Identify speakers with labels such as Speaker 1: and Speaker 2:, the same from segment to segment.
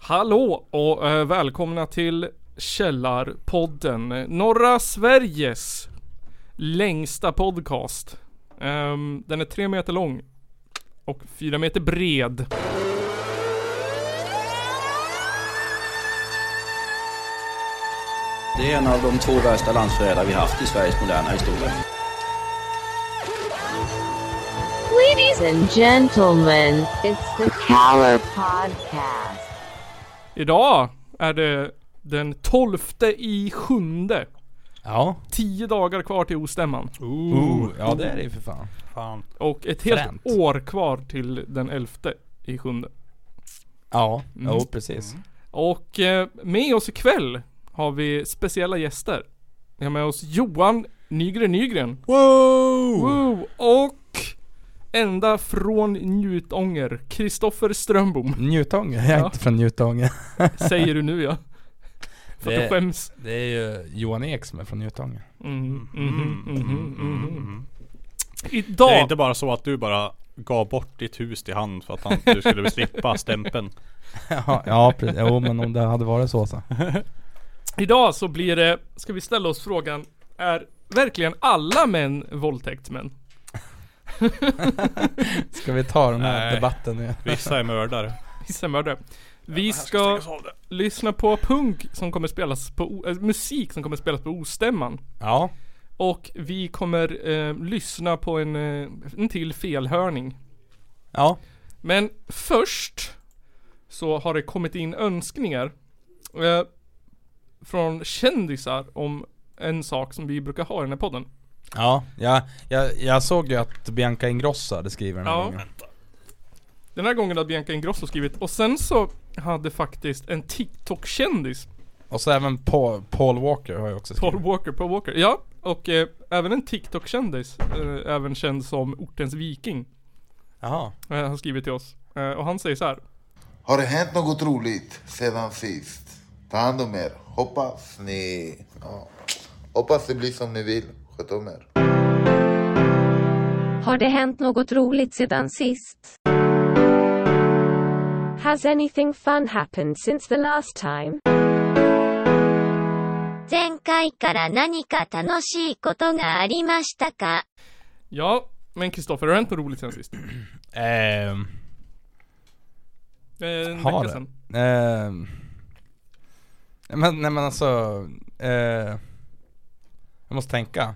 Speaker 1: Hallå och eh, välkomna till Källarpodden. eh, Norra Sveriges längsta podcast. Ehm, den är tre meter lång och fyra meter bred.
Speaker 2: Det är en av de två värsta landsförrädare vi haft i Sveriges moderna historia.
Speaker 3: Ladies and gentlemen, it's the Caller Podcast.
Speaker 1: Idag är det den 12 i sjunde.
Speaker 4: Ja.
Speaker 1: Tio dagar kvar till ostämman.
Speaker 4: Ooh. Mm. Ja det är det ju för fan.
Speaker 5: Fan.
Speaker 1: Och ett helt
Speaker 4: Fränt.
Speaker 1: år kvar till den 11 i sjunde.
Speaker 4: Ja,
Speaker 1: Mm.
Speaker 4: jo precis.
Speaker 1: Och eh, med oss ikväll har vi speciella gäster. Vi har med oss Johan Nygren Nygren.
Speaker 4: Wow!
Speaker 1: Wow. Och ända från Njutånger, Kristoffer Strömbom.
Speaker 4: Njutånger, jag är
Speaker 1: Ja.
Speaker 4: inte från Njutånger.
Speaker 1: Säger du nu ja. För att du
Speaker 4: Det-
Speaker 1: skäms.
Speaker 4: Det är ju Johan Ek som är från Njutånger.
Speaker 1: Mm, mhm, mhm, mhm.
Speaker 5: Mm. Det är
Speaker 1: Idag,
Speaker 5: inte bara så att du bara gav bort ditt hus till han för att han, du skulle slippa stämpeln.
Speaker 4: ja, ja precis. Jo men om det hade varit så så.
Speaker 1: idag så blir det, ska vi ställa oss frågan, är verkligen alla män våldtäktsmän?
Speaker 4: Ska vi ta den här
Speaker 5: Nej.
Speaker 4: debatten nu?
Speaker 5: Vissa är mördare.
Speaker 1: Vissa mördare. Vi ska lyssna på punk som kommer spelas på, o- äh, musik som kommer spelas på ostämman.
Speaker 4: Ja.
Speaker 1: Och vi kommer eh, lyssna på en, eh, en till felhörning.
Speaker 4: Ja.
Speaker 1: Men först så har det kommit in önskningar eh, från kändisar om en sak som vi brukar ha i den här podden.
Speaker 4: Ja, jag, jag, jag såg ju att Bianca Ingrosso hade skrivit den här
Speaker 1: Ja.
Speaker 4: gången.
Speaker 1: Den här gången har Bianca Ingrosso skrivit och sen så hade faktiskt en TikTok-kändis,
Speaker 4: Och så även Paul, Paul Walker har jag också skrivit.
Speaker 1: Paul Walker, Paul Walker, ja, och eh, även en TikTok-kändis, eh, även känd som ortens viking,
Speaker 4: Jaha.
Speaker 1: eh, har skrivit till oss. Eh, och han säger så här.
Speaker 6: Har det hänt något roligt sedan sist? Ta hand om er. Hoppas ni... Ja. Hoppas det blir som ni vill. Sköt om er.
Speaker 7: Har det hänt något roligt sedan sist? Has anything fun happened since the last time?
Speaker 8: 前回から何か楽しいことがありましたか
Speaker 1: Ja, men Kristoffer, har det hänt något roligt sen sist? Eh,
Speaker 4: Ehm,
Speaker 1: en
Speaker 4: Har
Speaker 1: vecka
Speaker 4: det?
Speaker 1: sen.
Speaker 4: ehm. Nej, men, nej men alltså, eh, jag måste tänka.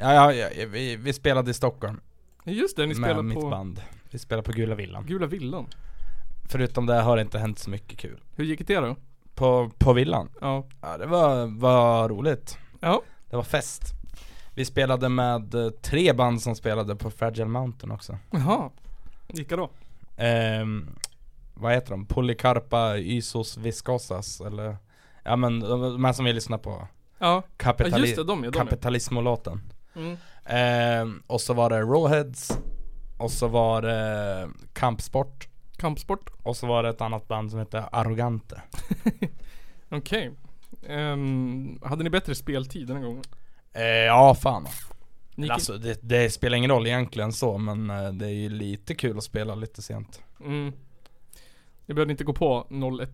Speaker 4: ja, ja, ja, vi, vi spelade i Stockholm
Speaker 1: Just det, ni
Speaker 4: med
Speaker 1: spelar
Speaker 4: mitt
Speaker 1: på
Speaker 4: band. Vi spelade på Gula Villan.
Speaker 1: Gula Villan.
Speaker 4: Förutom det har det inte hänt så mycket kul.
Speaker 1: Hur gick det då?
Speaker 4: På, på Villan?
Speaker 1: Ja.
Speaker 4: Ja det var, var roligt.
Speaker 1: Ja.
Speaker 4: Det var fest. Vi spelade med eh, tre band som spelade på Fragile Mountain också.
Speaker 1: Jaha. Vilka då?
Speaker 4: Ehm, vad heter de? Polycarpa Ysos Viscosas eller? Ja men de, de här som vi lyssnar på
Speaker 1: Ja.
Speaker 4: Kapitali-
Speaker 1: Ja, just det, de ja, de ja.
Speaker 4: Kapitalismolåten
Speaker 1: Mm.
Speaker 4: Ehm, Och så var det Rawheads Och så var det Kampsport
Speaker 1: Kampsport.
Speaker 4: Och så var det ett annat band som hette Arrogante
Speaker 1: Okej. Ehm, hade ni bättre speltid den här gången?
Speaker 4: Ehm, Ja fan
Speaker 1: Ni
Speaker 4: Men
Speaker 1: gick-
Speaker 4: Alltså det, det spelar ingen roll egentligen så men eh, det är ju lite kul att spela lite sent
Speaker 1: Mm. Ni behövde inte gå på 01.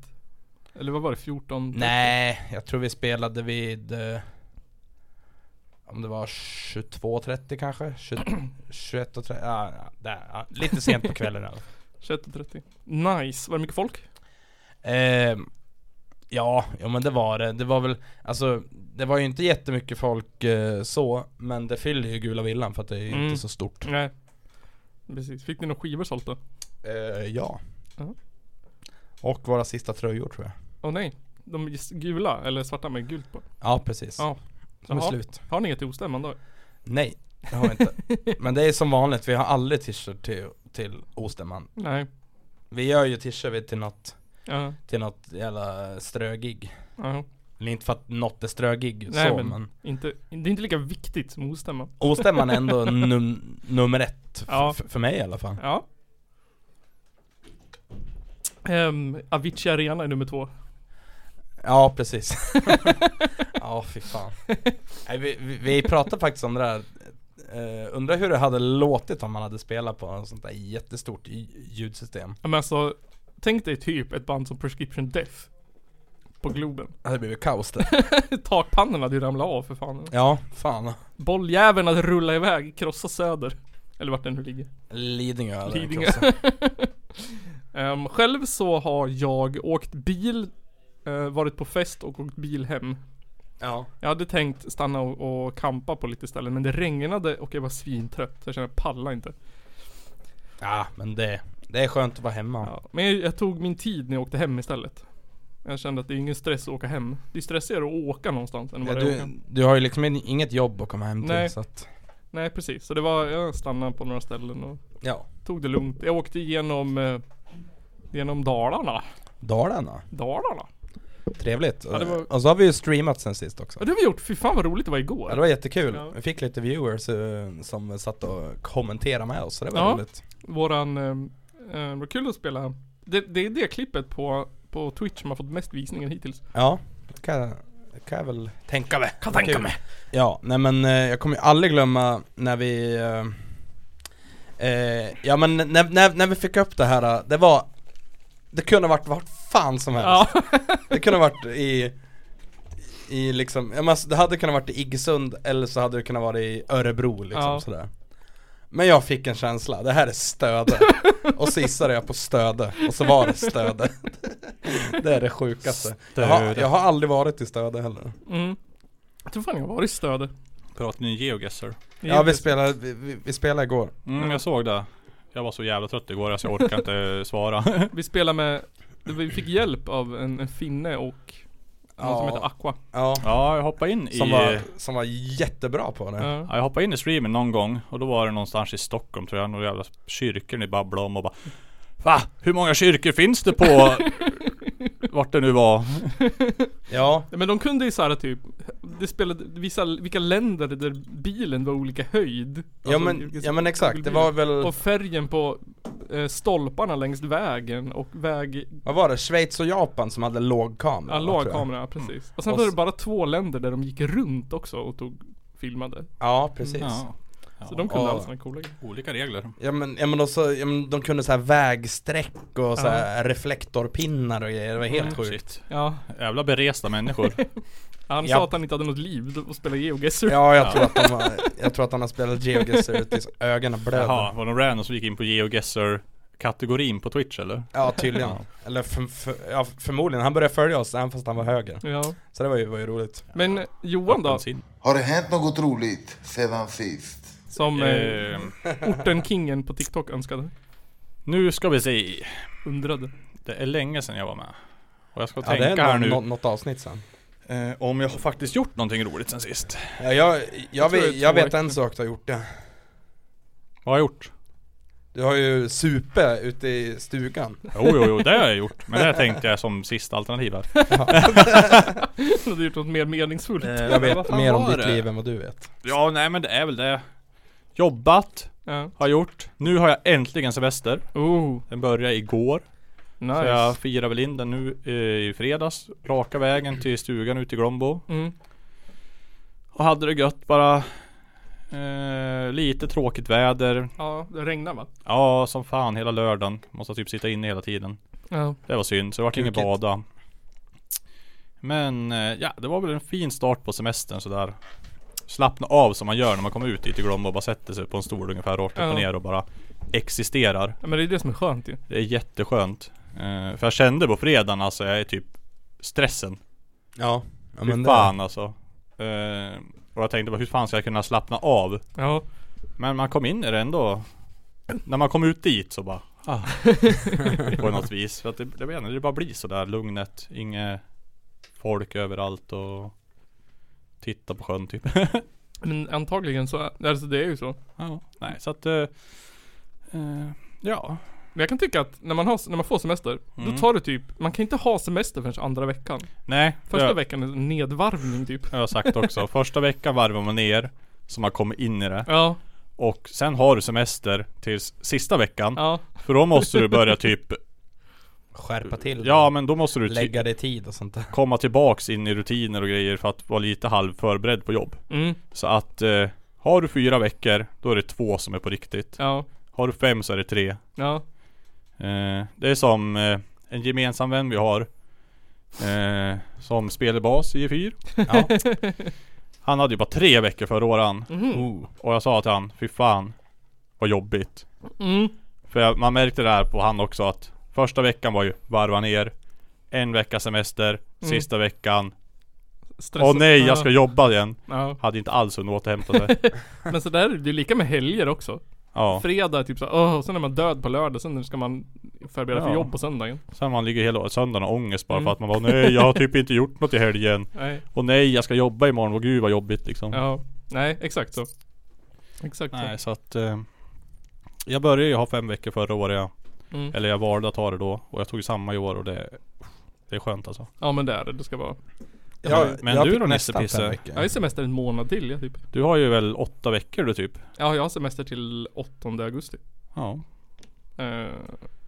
Speaker 1: Eller vad var det? 14?
Speaker 4: Nej, jag tror vi spelade vid eh, Om det var 22.30 kanske? 21.30? Ja, ah, ja, där, ja, lite sent på kvällen i alla fall.
Speaker 1: 21.30. Nice. Var det mycket folk?
Speaker 4: eh, Ja, ja men det var det. Det var väl Alltså det var ju inte jättemycket folk eh, så Men det fyller ju Gula Villan för att det är ju
Speaker 1: Mm.
Speaker 4: inte så stort
Speaker 1: Nej. Precis. Fick ni några skivor sålt då?
Speaker 4: eh, Ja
Speaker 1: Ja.
Speaker 4: Och våra sista tröjor tror jag
Speaker 1: Åh nej. De är gula, eller svarta med gult på.
Speaker 4: Ja precis
Speaker 1: Ja.
Speaker 4: De är
Speaker 1: Jaha.
Speaker 4: slut
Speaker 1: Har ni inget till ostämman då?
Speaker 4: Nej, det har vi inte Men det är som vanligt, vi har aldrig t-shirt till, till Ostämman
Speaker 1: Nej.
Speaker 4: Vi gör ju t-shirt till något,
Speaker 1: Ja.
Speaker 4: till något jävla strögig
Speaker 1: Ja.
Speaker 4: Eller inte för att något är strögig
Speaker 1: Nej
Speaker 4: så
Speaker 1: men,
Speaker 4: men,
Speaker 1: Inte, det är inte lika viktigt som ostämman.
Speaker 4: Ostämman är ändå num- nummer ett f-
Speaker 1: Ja.
Speaker 4: f- för mig i alla fall
Speaker 1: Ja. Ehm, Avicii Arena är nummer två.
Speaker 4: Ja precis Ja fy fan Nej, vi, vi, vi pratade faktiskt om det där Eh, undrar hur det hade låtit om man hade spelat på en sånt där jättestort lj- ljudsystem
Speaker 1: Ja, Men alltså Tänk dig typ ett band som Prescription Death. På Globen.
Speaker 4: Det hade blivit kaos där.
Speaker 1: Takpannorna hade ju ramlat av för fan.
Speaker 4: Ja, fan.
Speaker 1: Bolljäveln hade rullat iväg, krossa söder. Eller vart den nu ligger.
Speaker 4: Lidingö hade den
Speaker 1: Lidingö.
Speaker 4: krossat.
Speaker 1: Ehm, själv så har jag åkt bil, eh, varit på fest och åkt bil hem.
Speaker 4: Ja.
Speaker 1: Jag hade tänkt stanna och, och kampa på lite ställen men det regnade och jag var svintrött. Så jag kände jag pallar inte.
Speaker 4: Ja, men det, det är skönt att vara hemma.
Speaker 1: Ja, men jag, jag tog min tid när jag åkte hem istället. Jag kände att det är ingen stress att åka hem. Det är stressigare att åka någonstans än
Speaker 4: Ja,
Speaker 1: vad det är att åka.
Speaker 4: du, du har ju liksom in- inget jobb att komma hem till
Speaker 1: Nej.
Speaker 4: så att,
Speaker 1: Nej precis, så det var, jag stannade på några ställen och
Speaker 4: Ja.
Speaker 1: tog det lugnt. Jag åkte igenom, eh, genom Dalarna.
Speaker 4: Dalarna,
Speaker 1: Dalarna?
Speaker 4: trevligt.
Speaker 1: det var-
Speaker 4: Och så har vi ju streamat sen sist också.
Speaker 1: Ja det har vi gjort, fy fan vad roligt det var igår.
Speaker 4: Ja, det var jättekul.
Speaker 1: Ja.
Speaker 4: Vi fick lite viewers eh, som satt och kommenterade med oss, så det var
Speaker 1: Ja.
Speaker 4: roligt.
Speaker 1: Våran, eh, eh, det var kul att spela. Det, det är det klippet på, på Twitch som har fått mest visningar hittills.
Speaker 4: Ja, det kan, jag- det kan jag väl tänka mig.
Speaker 1: Kan tänka
Speaker 4: Kul.
Speaker 1: mig.
Speaker 4: Ja, nej men eh, jag kommer ju aldrig glömma när vi eh, eh, Ja men när, när, när vi fick upp det här, eh, det var Det kunde ha varit vart fan som helst
Speaker 1: Ja,
Speaker 4: Det kunde ha varit i i liksom, ja, men alltså, det hade kunnat varit i Iggesund eller så hade det kunnat vara i Örebro liksom
Speaker 1: Ja.
Speaker 4: sådär Men jag fick en känsla, det här är Stöde Och så gissade jag på Stöde och så var det Stöde Det är det sjukaste jag har,
Speaker 5: Stöde.
Speaker 4: jag har aldrig varit i Stöde heller
Speaker 1: mm. Jag tror fan jag var i stöd.
Speaker 5: Pratar ni Geoguessr?
Speaker 4: Ja vi spelade, vi, vi, vi spelade igår
Speaker 5: Mm, jag såg det. Jag var så jävla trött igår så jag orkar inte svara.
Speaker 1: Vi spelade med, vi fick hjälp av en, en finne och någon som heter Aqua.
Speaker 4: Ja,
Speaker 5: Ja, jag hoppade in
Speaker 4: som,
Speaker 5: i...
Speaker 4: var, som var jättebra på det.
Speaker 1: Ja.
Speaker 5: Ja, jag hoppade in i streamen någon gång och då var det någonstans i Stockholm tror jag, några jävla kyrkor ni babblade om och bara Va? Hur många kyrkor finns det på vart det nu var?
Speaker 4: Ja,
Speaker 1: Ja, Men de kunde ju såhär typ, det spelade vissa, vilka länder där bilen var olika höjd.
Speaker 4: ja,
Speaker 1: Alltså,
Speaker 4: men,
Speaker 1: vilken-
Speaker 4: ja men exakt, det var väl,
Speaker 1: Och färgen på eh, stolparna längs vägen och väg,
Speaker 4: vad var det? Schweiz och Japan som hade låg kamera?
Speaker 1: ja låg
Speaker 4: tror jag.
Speaker 1: kamera, precis. Och sen
Speaker 4: Och
Speaker 1: var
Speaker 4: s-
Speaker 1: det bara två länder där de gick runt också och tog, filmade.
Speaker 4: Ja, precis.
Speaker 5: Ja.
Speaker 1: Så de kunde
Speaker 4: och-
Speaker 1: alla såna coola grejer.
Speaker 5: Olika regler.
Speaker 4: Ja men, ja, men, också, ja, men de kunde så här vägsträck och så här reflektorpinnar och grejer, det var helt
Speaker 1: Mm.
Speaker 4: sjukt.
Speaker 1: Ja,
Speaker 5: Jävla beresta människor.
Speaker 1: han
Speaker 4: Japp.
Speaker 1: sa att han inte hade något liv och spelade GeoGuessr.
Speaker 4: Ja, jag, Tror att de har, jag tror att han har spelat GeoGuessr tills ögonen blöder.
Speaker 5: Jaha, var de random som gick in på GeoGuessr kategorin på Twitch eller?
Speaker 4: Ja, tydligen. Eller för, för, ja, förmodligen, han började följa oss även fast han var höger.
Speaker 1: Ja.
Speaker 4: Så det var ju, var ju roligt.
Speaker 1: Men Johan då,
Speaker 5: Bensin.
Speaker 6: Har det hänt något roligt sedan sist?
Speaker 1: som eh,
Speaker 5: Eh,
Speaker 1: Orten-kingen på TikTok önskade,
Speaker 5: nu ska vi se.
Speaker 1: undrade.
Speaker 5: Det är länge sedan jag var med. Och jag ska
Speaker 4: Ja, det
Speaker 5: tänka
Speaker 4: är
Speaker 5: här
Speaker 4: nå-
Speaker 5: nu
Speaker 4: nå- något avsnitt sen.
Speaker 5: eh, om jag har faktiskt gjort någonting roligt sen sist.
Speaker 4: Ja, jag, jag,
Speaker 1: tror det är
Speaker 4: vet, jag
Speaker 1: två
Speaker 4: vet
Speaker 1: veckor.
Speaker 4: en sak du har gjort det.
Speaker 5: Vad har jag gjort?
Speaker 4: Du har ju supe ute i stugan.
Speaker 5: Jo, jo, jo, det har jag gjort. Men det här tänkte jag som sista alternativ här.
Speaker 1: Du hade gjort något mer meningsfullt.
Speaker 4: Eh,
Speaker 5: Eh.
Speaker 4: Jag vet mer om ditt liv än vad du vet.
Speaker 5: Ja, nej men det är väl det. Jobbat,
Speaker 1: Ja.
Speaker 5: har gjort. Nu har jag äntligen semester.
Speaker 1: Oh,
Speaker 5: Den började igår. Så
Speaker 1: nice.
Speaker 5: jag firar väl in den nu eh, i fredags. Raka vägen till stugan ute i Glombo.
Speaker 1: Mm.
Speaker 5: Och hade det gött bara. Eh, lite tråkigt väder.
Speaker 1: Ja, det regnar va?
Speaker 5: Ja, som fan hela lördagen. Måste typ sitta inne hela tiden.
Speaker 1: Ja.
Speaker 5: Det var synd, så det vart inget
Speaker 4: Kukigt.
Speaker 5: bada. Men eh, ja, det var väl en fin start på semestern sådär. Slappna av som man gör när man kommer ut dit i Glombo och bara sätter sig på en stol ungefär rakt upp
Speaker 1: Ja.
Speaker 5: och ner och bara existerar.
Speaker 1: Men det är det som är skönt ju.
Speaker 5: Det är jätteskönt. Eh, för jag kände på fredagen alltså, jag är typ stressen.
Speaker 4: Ja, ja
Speaker 5: Fy fan alltså. Eh, och jag tänkte bara, hur fan ska jag kunna slappna av?
Speaker 1: Ja.
Speaker 5: Men man kom in i det ändå. När man kom ut dit så bara, ah. På något vis. För att det, det, menar, det bara blir sådär lugnet. Inget folk överallt och titta på sjön typ.
Speaker 1: Men antagligen så, är- alltså det är ju så.
Speaker 5: ja, nej så att, eh, eh, ja.
Speaker 1: Men jag kan tycka att när man, har, när man får semester,
Speaker 5: Mm.
Speaker 1: då tar det typ, man kan inte ha semester förrän andra veckan.
Speaker 5: Nej,
Speaker 1: Första
Speaker 5: det,
Speaker 1: veckan är en nedvarvning typ.
Speaker 5: har jag sagt också. Första veckan varvar man ner. Så man kommer in i det.
Speaker 1: Ja,
Speaker 5: Och sen har du semester tills sista veckan.
Speaker 1: ja.
Speaker 5: För då måste du börja typ,
Speaker 4: Skärpa till
Speaker 5: ja men då måste du ty-
Speaker 4: Lägga dig i tid och sånt där.
Speaker 5: komma tillbaks in i rutiner och grejer för att vara lite halv förberedd på jobb.
Speaker 1: Mm,
Speaker 5: Så att eh, har du fyra veckor, då är det två som är på riktigt.
Speaker 1: ja,
Speaker 5: Har du fem så är det tre.
Speaker 1: ja.
Speaker 5: Eh, det är som eh, en gemensam vän vi har. Eh, som spelar bas i E4.
Speaker 4: Ja.
Speaker 5: Han hade ju bara tre veckor förra året han.
Speaker 1: Mhm.
Speaker 4: Oh.
Speaker 5: Och jag sa till han, fy fan vad jobbigt.
Speaker 1: Mm.
Speaker 5: För jag, man märkte det här på han också att första veckan var ju varva ner. En vecka semester,
Speaker 1: Mm.
Speaker 5: sista veckan.
Speaker 1: Stressa.
Speaker 5: Åh nej, jag ska jobba igen.
Speaker 1: Ja.
Speaker 5: Hade inte alls hunnit återhämta sig.
Speaker 1: Men så där, det är lika med helger också.
Speaker 5: Ja.
Speaker 1: Fredag är typ så här, åh, och sen är man död på lördag, sen ska man förbereda för
Speaker 5: Ja.
Speaker 1: jobb på söndagen.
Speaker 5: Sen man ligger hela söndagen och har ångest bara
Speaker 1: Mm.
Speaker 5: för att man bara nej, jag har typ inte gjort något i helgen.
Speaker 1: Nej,
Speaker 5: Och nej, jag ska jobba imorgon. Och gud vad jobbigt liksom.
Speaker 1: ja, nej exakt så. Exakt
Speaker 5: Nej, så att eh, Jag började ju ha fem veckor förra året ja.
Speaker 1: Mm.
Speaker 5: Eller jag valde att ta det då och jag tog samma i år och det Det är skönt alltså
Speaker 1: så. Ja men det är det, det ska vara.
Speaker 5: Ja, men du
Speaker 4: fick
Speaker 5: då, Nisse
Speaker 4: nästan fem
Speaker 5: Pisse?
Speaker 1: Jag har
Speaker 4: veckor.
Speaker 1: ju semester en månad till ja, typ.
Speaker 5: Du har ju väl åtta veckor du typ?
Speaker 1: Ja, jag har semester till 8 augusti.
Speaker 5: Ja
Speaker 1: Eh,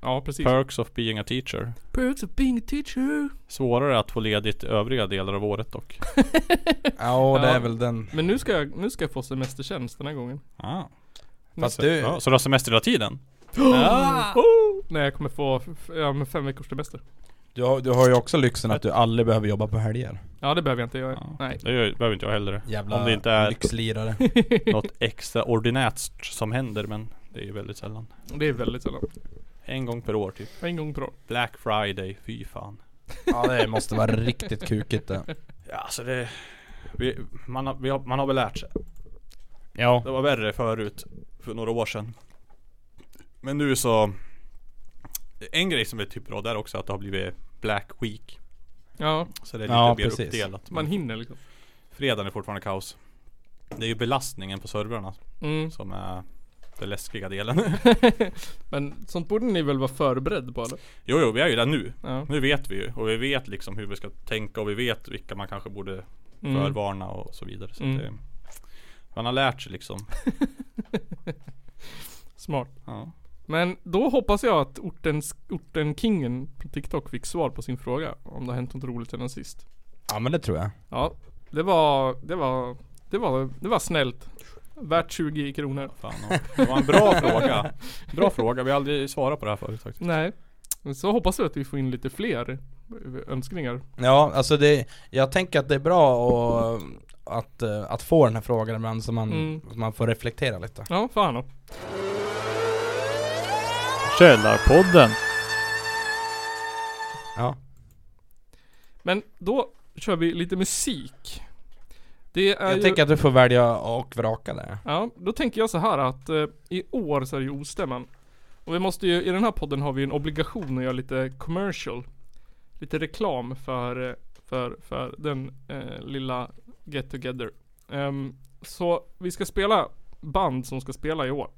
Speaker 1: ja, precis.
Speaker 5: Perks of being a teacher
Speaker 1: Perks of being a teacher.
Speaker 5: Svårare att få ledigt övriga delar av året dock
Speaker 4: Ja, och det
Speaker 1: Ja.
Speaker 4: är väl den.
Speaker 1: Men nu ska jag, nu ska jag få semestertjänst den här gången.
Speaker 5: ah.
Speaker 4: Fast
Speaker 5: Du...
Speaker 4: du,
Speaker 5: Ja, så du har semester hela tiden?
Speaker 1: Nej, jag kommer få f- ja, men fem veckors semester.
Speaker 4: du, har, du har ju också lyxen att du aldrig behöver jobba på helger.
Speaker 1: Ja, det behöver jag inte göra.
Speaker 5: Ja.
Speaker 1: Nej.
Speaker 5: Det gör- behöver inte jag heller
Speaker 4: Jävla
Speaker 5: Om det inte är
Speaker 4: lyxlirare.
Speaker 5: något extraordinärt som händer men Det är ju väldigt sällan
Speaker 1: Det är väldigt sällan.
Speaker 5: En gång per år typ
Speaker 1: En gång per år.
Speaker 5: Black Friday, fy fan
Speaker 4: ja, det måste vara riktigt kukigt det.
Speaker 5: Ja alltså det vi, man, har, vi har, man har väl lärt sig
Speaker 4: Ja.
Speaker 5: Det var värre förut, för några år sedan. Men nu så... En grej som är typ bra där också är att det har blivit Black Week.
Speaker 1: Ja,
Speaker 5: Så det är lite
Speaker 4: Ja,
Speaker 5: mer
Speaker 4: precis.
Speaker 5: uppdelat.
Speaker 1: man
Speaker 5: Men
Speaker 1: hinner liksom.
Speaker 5: fredagen är fortfarande kaos. Det är ju belastningen på servrarna
Speaker 1: Mm.
Speaker 5: som är den läskiga delen.
Speaker 1: Men sånt borde ni väl vara förberedd på eller?
Speaker 5: jo, jo, vi är ju där nu.
Speaker 1: Ja.
Speaker 5: Nu vet vi ju och vi vet liksom hur vi ska tänka och vi vet vilka man kanske borde
Speaker 1: Mm.
Speaker 5: förvarna och så vidare. Så
Speaker 1: Mm.
Speaker 5: att det, man har lärt sig liksom.
Speaker 1: Smart.
Speaker 5: Ja.
Speaker 1: Men då hoppas jag att orten, orten kingen på TikTok fick svar på sin fråga. Om det har hänt något roligt sedan sist.
Speaker 4: Ja men det tror jag.
Speaker 1: Ja, det var, det var, det var, det var snällt. Värt 20 kronor.
Speaker 5: Fan, ja. det var en bra fråga. Bra fråga, vi har aldrig svarat på det här förut faktiskt.
Speaker 1: Nej. Men Så hoppas vi att vi får in lite fler eh, önskningar.
Speaker 4: Ja alltså det, jag tänker att det är bra och, att, eh, att få den här frågan ibland så man,
Speaker 1: Mm.
Speaker 4: man får reflektera lite.
Speaker 1: Ja, fan då.
Speaker 5: Källarpodden.
Speaker 4: Ja.
Speaker 1: Men då kör vi lite musik. Det är
Speaker 4: Jag
Speaker 1: ju...
Speaker 4: tänker att du får välja och vraka där.
Speaker 1: Ja, då tänker jag så här att eh, i år så är det ju ostämman. Och vi måste ju, i den här podden har vi ju en obligation att göra lite commercial. Lite reklam för, eh, för, för den eh, lilla get together. Ehm, så vi ska spela band som ska spela i år.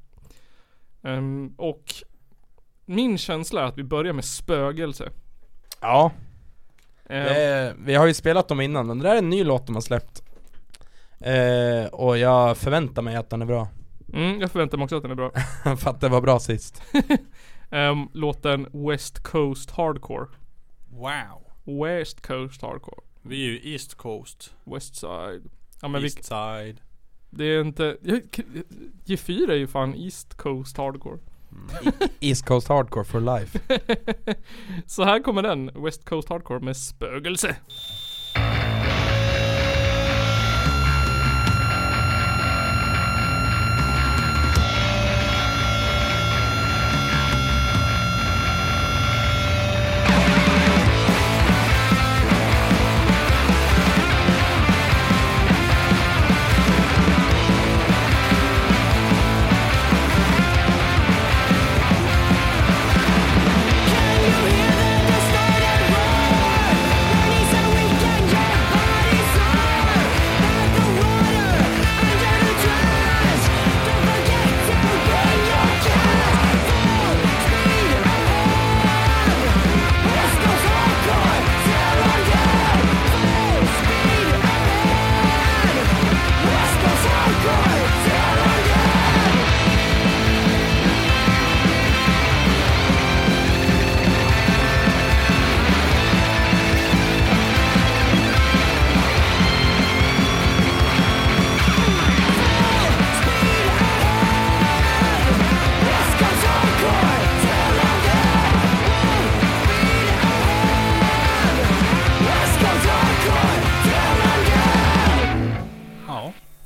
Speaker 1: Ehm, och min känsla är att vi börjar med Spögelse.
Speaker 4: Ja.
Speaker 1: Ehm,
Speaker 4: Det är, vi har ju spelat dem innan men det där är en ny låt de har släppt. Eh, och jag förväntar mig att den är bra.
Speaker 1: mm, jag förväntar mig också att den är bra.
Speaker 4: För att det var bra sist.
Speaker 1: Ehm, låten West Coast Hardcore.
Speaker 5: Wow.
Speaker 1: West Coast Hardcore.
Speaker 5: Vi är ju East Coast.
Speaker 1: Westside. Ja men vi,
Speaker 5: East Side.
Speaker 1: det är inte... G4 är ju fan East Coast Hardcore.
Speaker 4: East Coast Hardcore for life.
Speaker 1: Så här kommer den, West Coast Hardcore med spögelse.
Speaker 9: Can you hear the distorted roar? Burning so we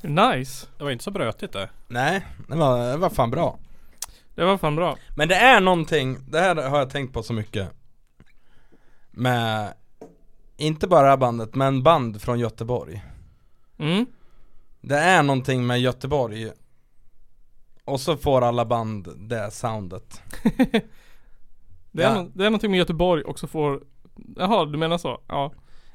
Speaker 1: Nice.
Speaker 5: Det var inte så brötigt det.
Speaker 4: Nej, det var, det var fan bra.
Speaker 1: Det var fan bra.
Speaker 4: Men det är någonting, det här har jag tänkt på så mycket Med, inte bara det här bandet, men band från Göteborg
Speaker 1: Mm.
Speaker 4: Det är någonting med Göteborg Och så får alla band det soundet
Speaker 1: Det, är
Speaker 4: Ja.
Speaker 1: no- det är någonting med Göteborg också får... Jaha, du menar så? Ja.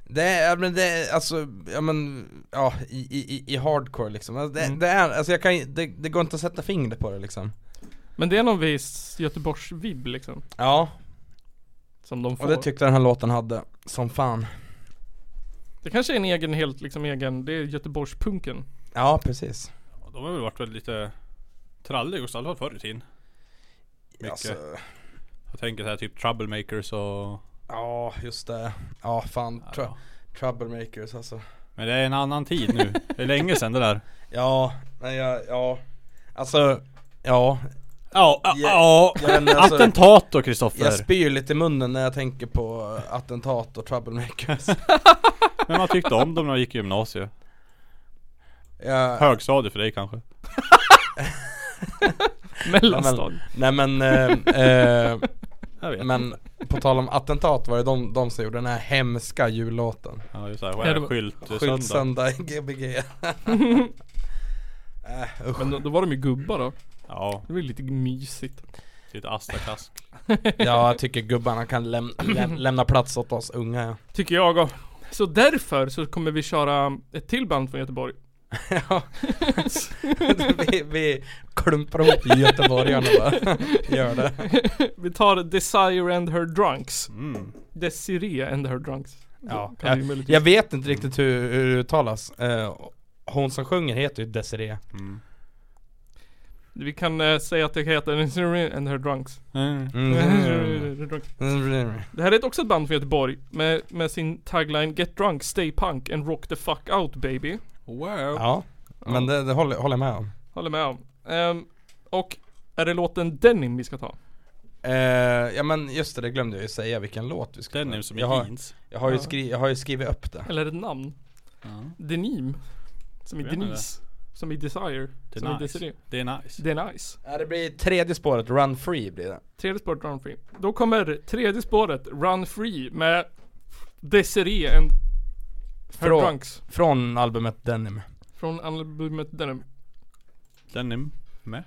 Speaker 4: Det är, ja, men det är, alltså, ja men, ja i, i, i- i hardcore liksom alltså, det,
Speaker 1: Mm.
Speaker 4: det är, alltså jag kan ju- det, det går inte att sätta fingret på det liksom
Speaker 1: Men det är någon viss Göteborgsvibb liksom.
Speaker 4: Ja,
Speaker 1: Som de
Speaker 4: och
Speaker 1: får.
Speaker 4: det tyckte jag den här låten hade, som fan
Speaker 1: det kanske är en egen, helt liksom egen, det är Göteborgspunken.
Speaker 4: Ja precis
Speaker 5: Ja, De har väl varit väldigt lite tralliga också, i alla fall förr i tiden. Mycket.
Speaker 4: Alltså,
Speaker 5: Jag tänker så här typ troublemakers och...
Speaker 4: Ja, just det. Ja, fan.
Speaker 5: Ja.
Speaker 4: Tr- troublemakers alltså.
Speaker 5: Men det är en annan tid nu. Det är länge sedan det där.
Speaker 4: Ja, nej jag, ja. Alltså, ja.
Speaker 5: Ja, ja, ja.
Speaker 4: Jag, vet inte, alltså,
Speaker 5: Attentat då
Speaker 4: jag
Speaker 5: Kristoffer.
Speaker 4: spyr lite i munnen när jag tänker på attentat och troublemakers.
Speaker 5: Men man tyckte om dem när man gick i gymnasiet.
Speaker 4: Jag,
Speaker 5: Högstadiet för dig kanske.
Speaker 1: Mellanstad.
Speaker 4: nej men, eh, eh,
Speaker 5: Jag vet.
Speaker 4: men på tal om attentat var det de, de som gjorde den här hemska jullåten.
Speaker 5: Ja just det,
Speaker 1: Ja,
Speaker 5: här,
Speaker 1: det var-
Speaker 5: skylt, skylt söndag.
Speaker 4: Skyltsöndag i Gbg. Äh, usch.
Speaker 1: Men då, då var de ju gubbar då.
Speaker 5: Ja,
Speaker 1: Det var ju lite mysigt.
Speaker 5: lite astakask.
Speaker 4: Ja, jag tycker gubbarna kan läm- läm- lämna plats åt oss unga. ja.
Speaker 1: Tycker jag också. Så därför så kommer vi köra ett till band från Göteborg.
Speaker 4: Ja, vi, vi klumpar ihop göteborgarna bara. Gör det.
Speaker 1: Vi tar Desire and her drunks.
Speaker 5: Mm.
Speaker 1: Desiree and her drunks.
Speaker 4: Ja,
Speaker 1: Kan vi
Speaker 4: jag,
Speaker 1: möjligtvis-
Speaker 4: jag vet inte riktigt hur, hur det uttalas. Eh, hon som sjunger heter ju Desiree.
Speaker 5: Mm.
Speaker 1: Vi kan eh, säga att det heter Desiree and her drunks.
Speaker 5: Mm.
Speaker 1: Det här är ett- också ett band från Göteborg med, med sin tagline Get drunk, stay punk and rock the fuck out baby.
Speaker 5: Wow.
Speaker 4: Ja, men det, det håller, håller jag med om.
Speaker 1: Håller med om. Ehm, och är det låten Denim vi ska ta?
Speaker 4: Eh, ja men just det, det glömde jag ju säga vilken låt vi skulle
Speaker 5: Den är som i
Speaker 4: jag har,
Speaker 5: jeans.
Speaker 4: jag, har ju skri, jag har ju skrivit upp det.
Speaker 1: Eller ett namn? Denim. Som i
Speaker 5: Jag vet inte.
Speaker 1: Denise. Som i Desire.
Speaker 5: Det
Speaker 1: som
Speaker 5: är
Speaker 1: i Desiree.
Speaker 5: nice. Det är nice.
Speaker 1: Det är nice.
Speaker 4: Ja, det blir tredje spåret, Run Free blir det.
Speaker 1: Tredje spåret Run Free. Då kommer tredje spåret Run Free med Desiree and Her
Speaker 4: Från-
Speaker 1: Drunks.
Speaker 4: Från albumet Denim.
Speaker 1: Från albumet Denim.
Speaker 5: Den är med.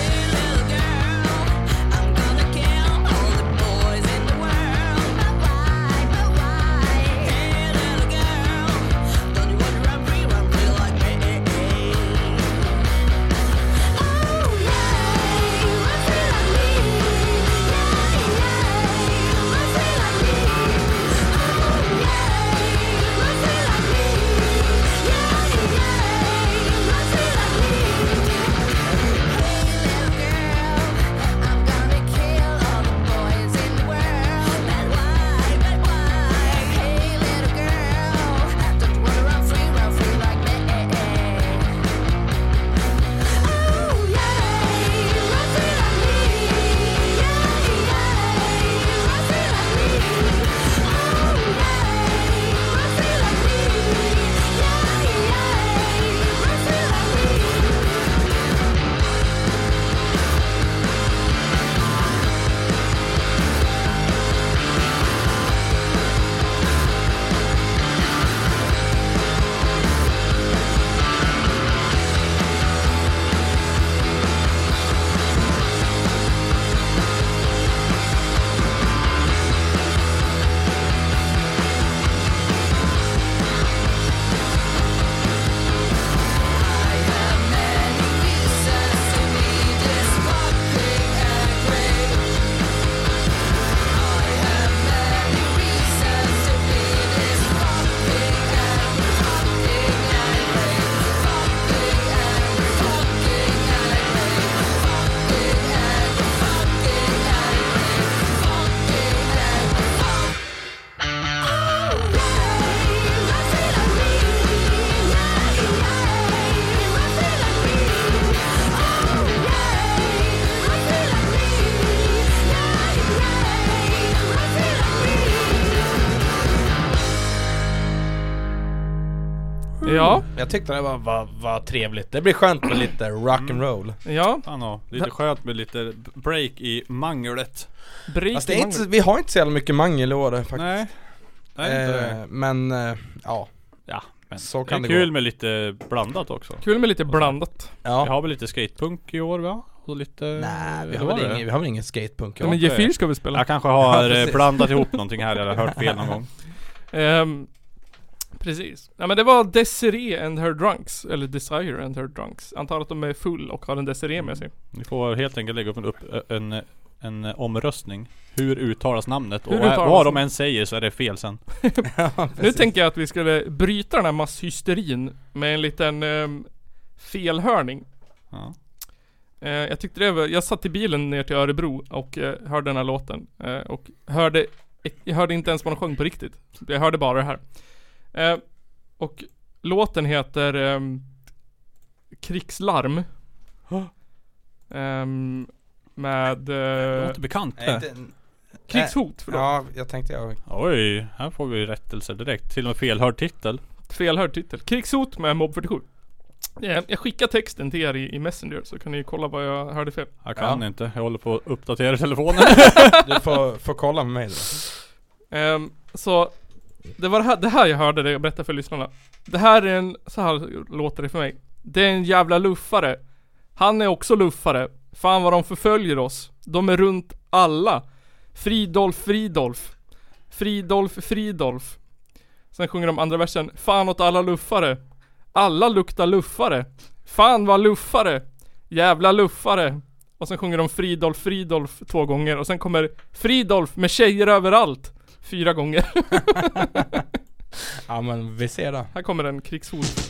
Speaker 9: Hey
Speaker 1: Ja,
Speaker 4: Jag tyckte det var, var, var trevligt. Det blir skönt med lite
Speaker 5: Mm.
Speaker 4: rock'n'roll.
Speaker 1: ja.
Speaker 5: Fan ja, lite skönt med lite break i manglet.
Speaker 1: Break
Speaker 4: Alltså, det
Speaker 1: i
Speaker 4: är inte, så-
Speaker 1: manglet.
Speaker 4: vi har inte så jävla mycket mangel i år faktiskt.
Speaker 5: Nej. Nej, inte det.
Speaker 4: eh, men eh, ja,
Speaker 5: Ja, men
Speaker 4: så
Speaker 5: det
Speaker 4: kan
Speaker 5: är
Speaker 4: det
Speaker 5: kul
Speaker 4: gå.
Speaker 5: med lite blandat också.
Speaker 1: Kul med lite blandat.
Speaker 5: Vi
Speaker 4: Ja.
Speaker 5: har väl lite skatepunk i år va? Och lite...
Speaker 4: Nej, vi
Speaker 5: Eller
Speaker 4: har,
Speaker 5: var
Speaker 4: väl
Speaker 5: det?
Speaker 4: ingen, vi har väl ingen skatepunk i
Speaker 1: Ja, men
Speaker 4: år.
Speaker 1: G4 ska vi spela.
Speaker 5: Jag kanske har
Speaker 4: Ja,
Speaker 5: eh,
Speaker 4: precis.
Speaker 5: blandat ihop någonting här eller hört fel någon gång.
Speaker 1: Ehm, precis. Ja men det var Desiree and her drunks. Eller Desire and her drunks. Antar att de är full och har en Desiree med sig.
Speaker 5: Ni får helt enkelt lägga upp en, upp, en, en omröstning. Hur uttalas namnet?
Speaker 1: Hur
Speaker 5: och
Speaker 1: uttalas
Speaker 5: vad de
Speaker 1: namnet?
Speaker 5: än säger så är det fel sen.
Speaker 1: Nu tänker jag att vi skulle bryta den här masshysterin med en liten ehm, felhörning.
Speaker 5: Ja.
Speaker 1: Eh, jag tyckte det var, jag satt i bilen ner till Örebro och eh, hörde den här låten. Eh, och hörde, jag hörde inte ens vad de sjöng på riktigt. Jag hörde bara det här. Eh, och låten heter ehm, Krigslarm. Ehm, med
Speaker 5: Det
Speaker 1: eh,
Speaker 5: låter bekant
Speaker 4: Nej,
Speaker 5: det.
Speaker 4: inte,
Speaker 1: Krigshot, förlåt.
Speaker 4: ja, jag tänkte jag...
Speaker 5: Oj, här får vi rättelser direkt. Till och med felhörd titel.
Speaker 1: Felhörd titel. Krigshot med Mob 47. Eh, Jag skickar texten till er i, i Messenger så kan ni kolla vad jag hörde fel.
Speaker 5: Jag kan inte. Jag håller på att uppdatera telefonen.
Speaker 4: Du får, får kolla med mig då.
Speaker 1: Ehm, så det var det här, det här jag hörde det jag berättade för lyssnarna. Det här är en, så här låter det för mig. Det är en jävla luffare. Han är också luffare. Fan vad de förföljer oss. De är runt alla. Fridolf, Fridolf. Fridolf, Fridolf. Sen sjunger de andra versen. Fan åt alla luffare. Alla luktar luffare. Fan vad luffare. Jävla luffare. Och sen sjunger de Fridolf, Fridolf två gånger. Och sen kommer Fridolf med tjejer överallt. Fyra gånger.
Speaker 4: Ja men vi ser det.
Speaker 1: Här kommer en krigshot.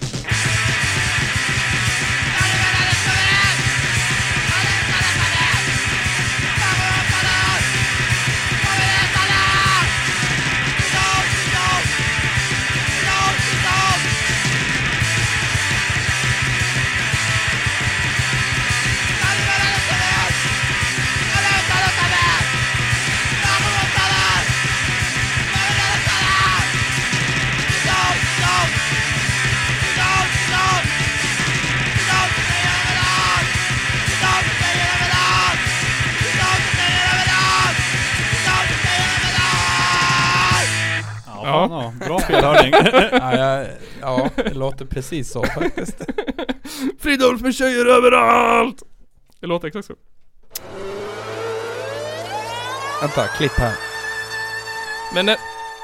Speaker 5: Ja, fan, ja. Bra felhörning.
Speaker 4: Ja, jag, ja det låter precis så faktiskt.
Speaker 1: Fridolf med tjejer överallt! Det låter exakt så.
Speaker 4: Vänta, klipp här.
Speaker 1: Men eh,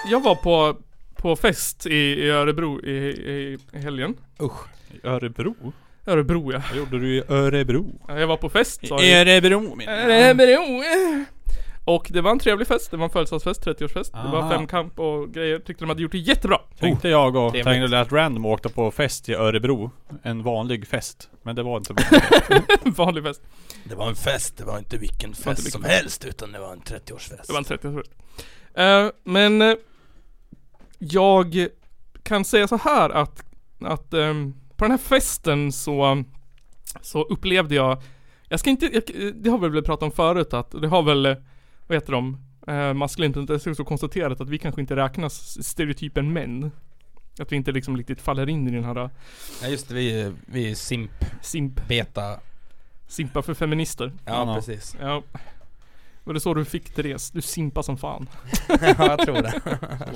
Speaker 1: jag var på, på fest i, i Örebro i, i, i helgen.
Speaker 4: Usch.
Speaker 5: I Örebro?
Speaker 1: Örebro ja.
Speaker 5: Vad gjorde du i Örebro?
Speaker 1: Ja, Jag var på fest sa jag.
Speaker 5: Örebro min.
Speaker 1: Örebro. eh. Och det var en trevlig fest. Det var en födelsedagsfest, 30-årsfest. Det var
Speaker 5: Aha.
Speaker 1: femkamp och grejer. Tyckte de hade gjort det jättebra.
Speaker 5: Tänkte jag och
Speaker 4: Trevligt.
Speaker 5: tänkte att Random åkte på fest i Örebro. En vanlig fest. Men det var inte bra.
Speaker 1: Vanlig fest.
Speaker 4: Det var en fest, det var inte vilken fest
Speaker 1: vilken
Speaker 4: som helst utan det var en 30-årsfest.
Speaker 1: Det var en 30 tror jag. Eh, Men eh, jag kan säga så här att, att ehm, på den här festen så, så upplevde jag, jag ska inte, jag, det har vi väl pratat om förut att det har väl, eh, vad heter de, eh, maskulint och inte så konstaterat att vi kanske inte räknas stereotypen män. Att vi inte liksom riktigt faller in i den här eh,
Speaker 4: Ja just det, vi, är- vi är simp,
Speaker 1: simp,
Speaker 4: beta.
Speaker 1: simpa för feminister.
Speaker 4: Ja,
Speaker 5: Ja.
Speaker 4: precis.
Speaker 1: Ja. Var det så du fick Therese? Du simpar som fan.
Speaker 4: ja jag tror det.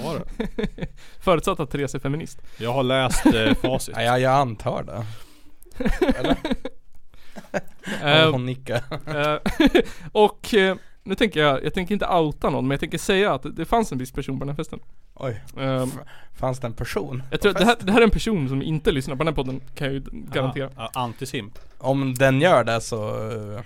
Speaker 5: Var det?
Speaker 1: Förutsatt att Therese är feminist.
Speaker 5: Jag har läst eh, facit.
Speaker 4: Ja, jag, jag antar det.
Speaker 1: Eh,
Speaker 4: Hon nickar.
Speaker 1: Eh, och eh, nu tänker jag, jag tänker inte outa någon men jag tänker säga att det fanns en viss person på den här festen.
Speaker 4: Oj,
Speaker 1: Eh,
Speaker 4: fanns det en person?
Speaker 1: jag tror, det, här, det här är en person som inte lyssnar på den här podden kan jag ju garantera.
Speaker 5: Ja, ja, Antisimp.
Speaker 4: Om den gör det så... eh,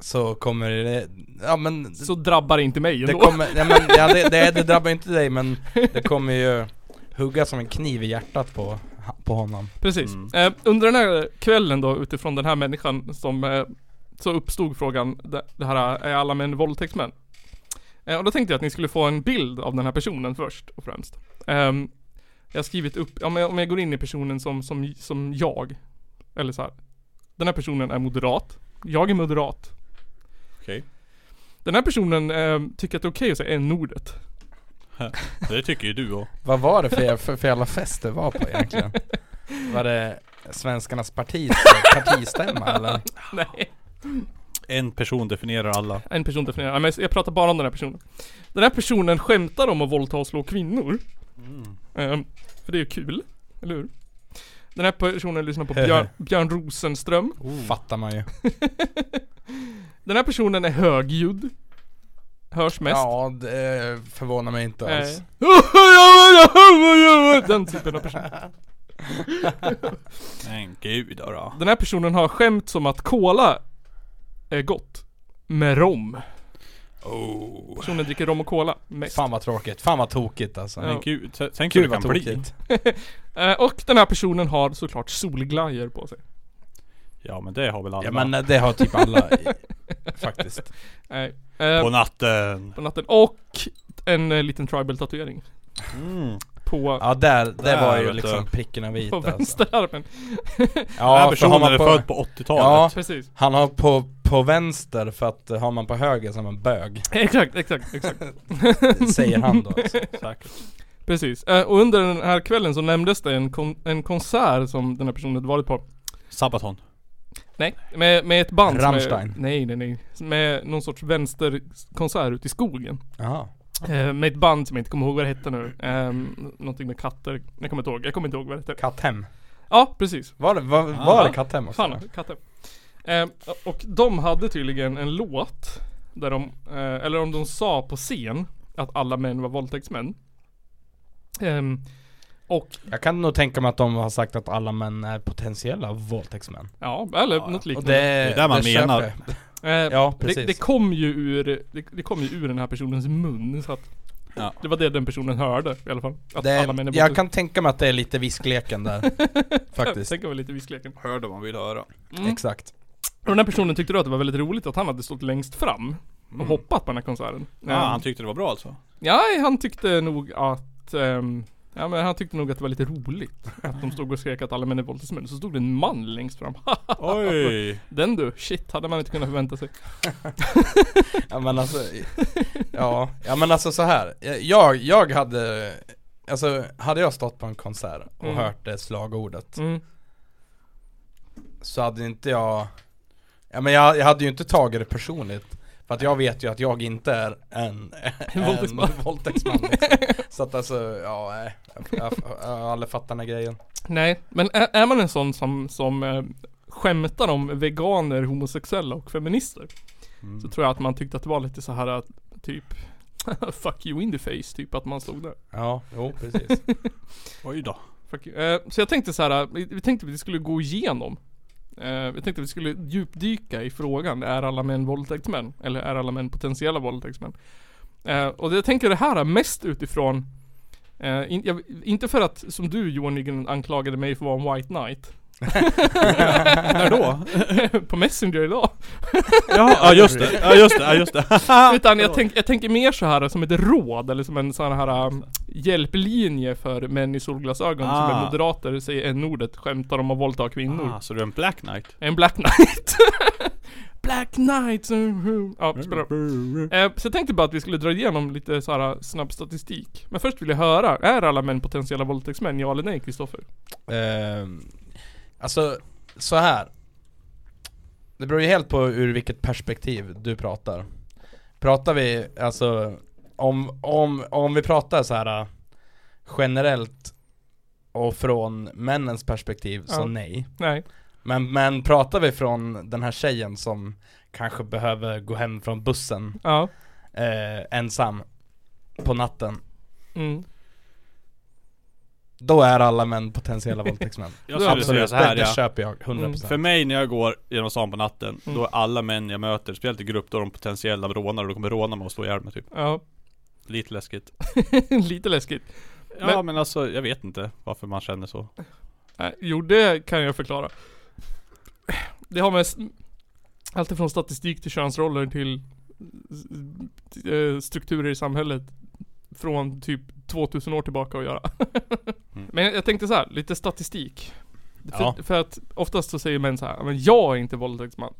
Speaker 4: Så kommer det... Ja men...
Speaker 1: Så drabbar det inte mig
Speaker 4: det
Speaker 1: ändå.
Speaker 4: kommer... Ja, men, ja, det, det, det drabbar inte dig men det kommer ju hugga som en kniv i hjärtat på, på honom.
Speaker 1: Precis. Eh, under den här kvällen då utifrån den här människan som eh, så uppstod frågan, det, det här är alla män våldtäktsmän? Eh, och då tänkte jag att ni skulle få en bild av den här personen först och främst. Ehm, jag har skrivit upp, om jag, om jag går in i personen som, som, som jag, eller så här. Den här personen är moderat, jag är moderat.
Speaker 5: Okej.
Speaker 1: Den här personen eh, tycker att det är okej att säga n-ordet.
Speaker 5: Det tycker ju du och
Speaker 4: Vad var det för, för, för jävla fest du var på egentligen? Var det Svenskarnas parti, partistämma eller?
Speaker 1: Nej.
Speaker 5: En person definierar alla.
Speaker 1: En person definierar. Nej, men jag pratar bara om den här personen. Den här personen skämtar om att våldta och slå kvinnor.
Speaker 4: Mm.
Speaker 1: Ehm, för det är ju kul. Eller hur? Den här personen lyssnar på Björn, Björn Rosenström.
Speaker 4: Fattar man ju.
Speaker 1: Den här personen är högljudd. Hörs mest. Ehm.
Speaker 4: Ja, det eh, förvånar mig inte
Speaker 1: Nej.
Speaker 4: alls.
Speaker 1: Den typen av person.
Speaker 5: Men gud då. då.
Speaker 1: Den här personen har skämt som att cola är gott. Med rom.
Speaker 5: Oh.
Speaker 1: Personen dricker rom och cola. Mest.
Speaker 4: Fan vad tråkigt, fan vad tokigt alltså.
Speaker 1: Ja.
Speaker 5: Men gud, t- tänk hur
Speaker 4: Gud
Speaker 5: det
Speaker 4: vad
Speaker 5: kan bli.
Speaker 4: tokigt.
Speaker 1: Eh, och den här personen har såklart solglajjor på sig.
Speaker 5: Ja men det har väl alla.
Speaker 4: Ja men det har typ alla i, faktiskt.
Speaker 1: Nej. Eh,
Speaker 5: På natten.
Speaker 1: på natten. Och en eh, liten tribal tatuering.
Speaker 4: Mm.
Speaker 1: På,
Speaker 4: Ja där, det
Speaker 5: Där,
Speaker 4: var ju
Speaker 5: vet du.
Speaker 4: liksom pricken av vit
Speaker 1: på
Speaker 4: alltså.
Speaker 1: vänsterarmen.
Speaker 5: Den här
Speaker 4: Ja, för har
Speaker 5: personen
Speaker 4: man
Speaker 5: är född på 80-talet.
Speaker 4: Ja,
Speaker 1: Precis.
Speaker 4: han har på, på vänster för att eh, har man på höger så är man bög.
Speaker 1: Exakt, exakt, exakt.
Speaker 4: Säger han då alltså.
Speaker 5: Säkert.
Speaker 1: Precis. Eh, och under den här kvällen så nämndes det en, kon- en konsert som den här personen hade varit på.
Speaker 5: Sabaton.
Speaker 1: Nej, med, med ett band som är-
Speaker 4: Rammstein.
Speaker 1: Nej, nej, nej. Med någon sorts vänsterkonsert ute i skogen.
Speaker 4: Jaha.
Speaker 1: Eh, med ett band som jag inte kommer ihåg vad det hette nu. Um, någonting med katter. Jag kommer inte ihåg. Jag kommer inte ihåg vad det hette.
Speaker 4: Katthem.
Speaker 1: Ja, precis.
Speaker 4: Var det, var, var det katthem också?
Speaker 1: Fan, katter. Eh, och de hade tydligen en låt. Där de, eh, eller om de sa på scen att alla män var våldtäktsmän. Ehm, och
Speaker 4: Jag kan nog tänka mig att de har sagt att alla män är potentiella våldtäktsmän.
Speaker 1: ja, eller något
Speaker 4: Och
Speaker 1: liknande.
Speaker 4: det,
Speaker 5: är där man
Speaker 4: köper
Speaker 5: menar.
Speaker 4: jag.
Speaker 1: Eh,
Speaker 4: Ja,
Speaker 1: det,
Speaker 4: precis.
Speaker 1: det kom ju ur, det, det kom ju ur den här personens mun så att
Speaker 5: Ja.
Speaker 1: Det var det den personen hörde i alla fall. Att
Speaker 4: Det,
Speaker 1: alla män är
Speaker 4: jag kan tänka mig att det är lite viskleken där. faktiskt. Mm.
Speaker 1: Tänk väl lite viskleken.
Speaker 5: Hörde man vill höra.
Speaker 4: Exakt.
Speaker 1: Och den här personen tyckte då att det var väldigt roligt att han hade stått längst fram och
Speaker 4: Mm.
Speaker 1: hoppat på den här konserten.
Speaker 5: Ja,
Speaker 4: Ah.
Speaker 1: Eh,
Speaker 5: han tyckte det var bra alltså.
Speaker 1: Ja, han tyckte nog att ehm, Ja men han tyckte nog att det var lite roligt att de stod och skrek att alla män är våldtäktsmän. Så stod det en man längst fram.
Speaker 5: Oj!
Speaker 1: Den du, shit hade man inte kunnat förvänta sig.
Speaker 4: Ja men alltså, ja, ja men alltså så här. Jag, jag hade, alltså hade jag stått på en konsert och
Speaker 1: Mm.
Speaker 4: hört det slagordet
Speaker 1: Mm.
Speaker 4: så hade inte jag, ja men jag, jag hade ju inte tagit det personligt. För att jag vet ju att jag inte är en, en
Speaker 1: våldtäktsman.
Speaker 4: våldtäktsman liksom. Så att alltså, ja nej. Jag, jag, jag har aldrig fattat den här grejen.
Speaker 1: Nej, men är, är man en sån som, som eh, skämtar om veganer, homosexuella och feminister. Så tror jag att man tyckte att det var lite så här att typ Fuck you in the face, typ att man stod där.
Speaker 4: Ja, jo precis.
Speaker 5: Oj då.
Speaker 1: Fuck you. Eh, så jag tänkte så här, vi, vi tänkte att vi skulle gå igenom. Eh, vi tänkte att vi skulle djupdyka i frågan, är alla män våldtäktsmän? Eller är alla män potentiella våldtäktsmän? Eh, och jag tänker det här mest utifrån eh, in, jag, inte för att, som du Johan Nygren anklagade mig för att vara en white knight
Speaker 5: När då?
Speaker 1: På Messenger idag
Speaker 5: Ja, ja just det. Ja just det. Ja, just det.
Speaker 1: Utan jag, tänk, jag tänker mer så här som ett råd eller som en sån här um, hjälplinje för män i solglasögon som är
Speaker 5: Ah.
Speaker 1: moderater, säger n-ordet, skämtar om att våldta kvinnor.
Speaker 4: Mm.
Speaker 5: Ah, så du är en Black Knight?
Speaker 1: En Black Knight. Black Knight. mm, Ja, spelar roll. Eh, Så jag tänkte bara att vi skulle dra igenom lite så här uh, snabb statistik. Men först vill jag höra, är alla män potentiella våldtäktsmän? Ja eller nej Kristoffer?
Speaker 4: Ehm, alltså, så här. Det beror ju helt på ur vilket perspektiv du pratar. Pratar vi, alltså, om, om, om vi pratar så här äh, generellt och från männens perspektiv,
Speaker 1: Ja.
Speaker 4: så nej.
Speaker 1: Nej.
Speaker 4: Men, men pratar vi från den här tjejen som kanske behöver gå hem från bussen
Speaker 1: Ja.
Speaker 4: eh, ensam på natten,
Speaker 1: Mm.
Speaker 4: då är alla män potentiella våldtäktsmän.
Speaker 5: Jag skulle säga så här
Speaker 4: det, det
Speaker 5: ja. Mm.
Speaker 4: köper jag, 100%.
Speaker 5: För mig när jag går genom stan på natten, då är alla män jag möter, speciellt i grupp, då är de potentiella rånare. De kommer råna mig och slå ihjäl mig typ.
Speaker 1: Ja.
Speaker 5: Lite läskigt.
Speaker 1: lite läskigt.
Speaker 5: Ja
Speaker 1: Men-
Speaker 5: men, alltså, jag vet inte varför man känner så.
Speaker 1: Nej, Jo, det kan jag förklara. Det har med s- allt ifrån statistik till könsroller till s- s- eh, strukturer i samhället från typ 2000 år tillbaka att göra. Men jag tänkte så här, lite statistik. För,
Speaker 4: Ja.
Speaker 1: för att oftast så säger män så här, "Ja, men jag är inte våldtäktsman.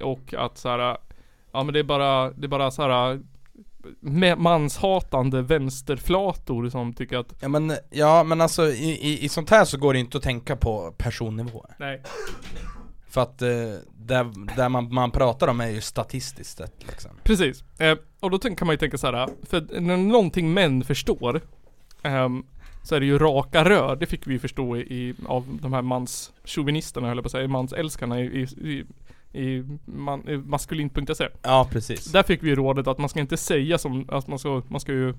Speaker 1: Och att så här, ja men det är bara, det är bara så här med- manshatande vänsterflator som tycker att
Speaker 4: Ja men, ja, men alltså i, i, i sånt här så går det inte att tänka på personnivå
Speaker 1: Nej.
Speaker 4: För att eh, där, där man, man pratar om är ju statistiskt sett liksom
Speaker 1: Precis. Eh, och då tänk- kan man ju tänka så här, eh, för när någonting män förstår ehm, så är det ju raka rör. Det fick vi ju förstå i, i, av de här manschauvinisterna höll jag på att säga, mansälskarna i, i, i, i, man, i maskulint.se.
Speaker 4: Ja precis
Speaker 1: Där fick vi ju rådet att man ska inte säga som, att man ska, man ska ju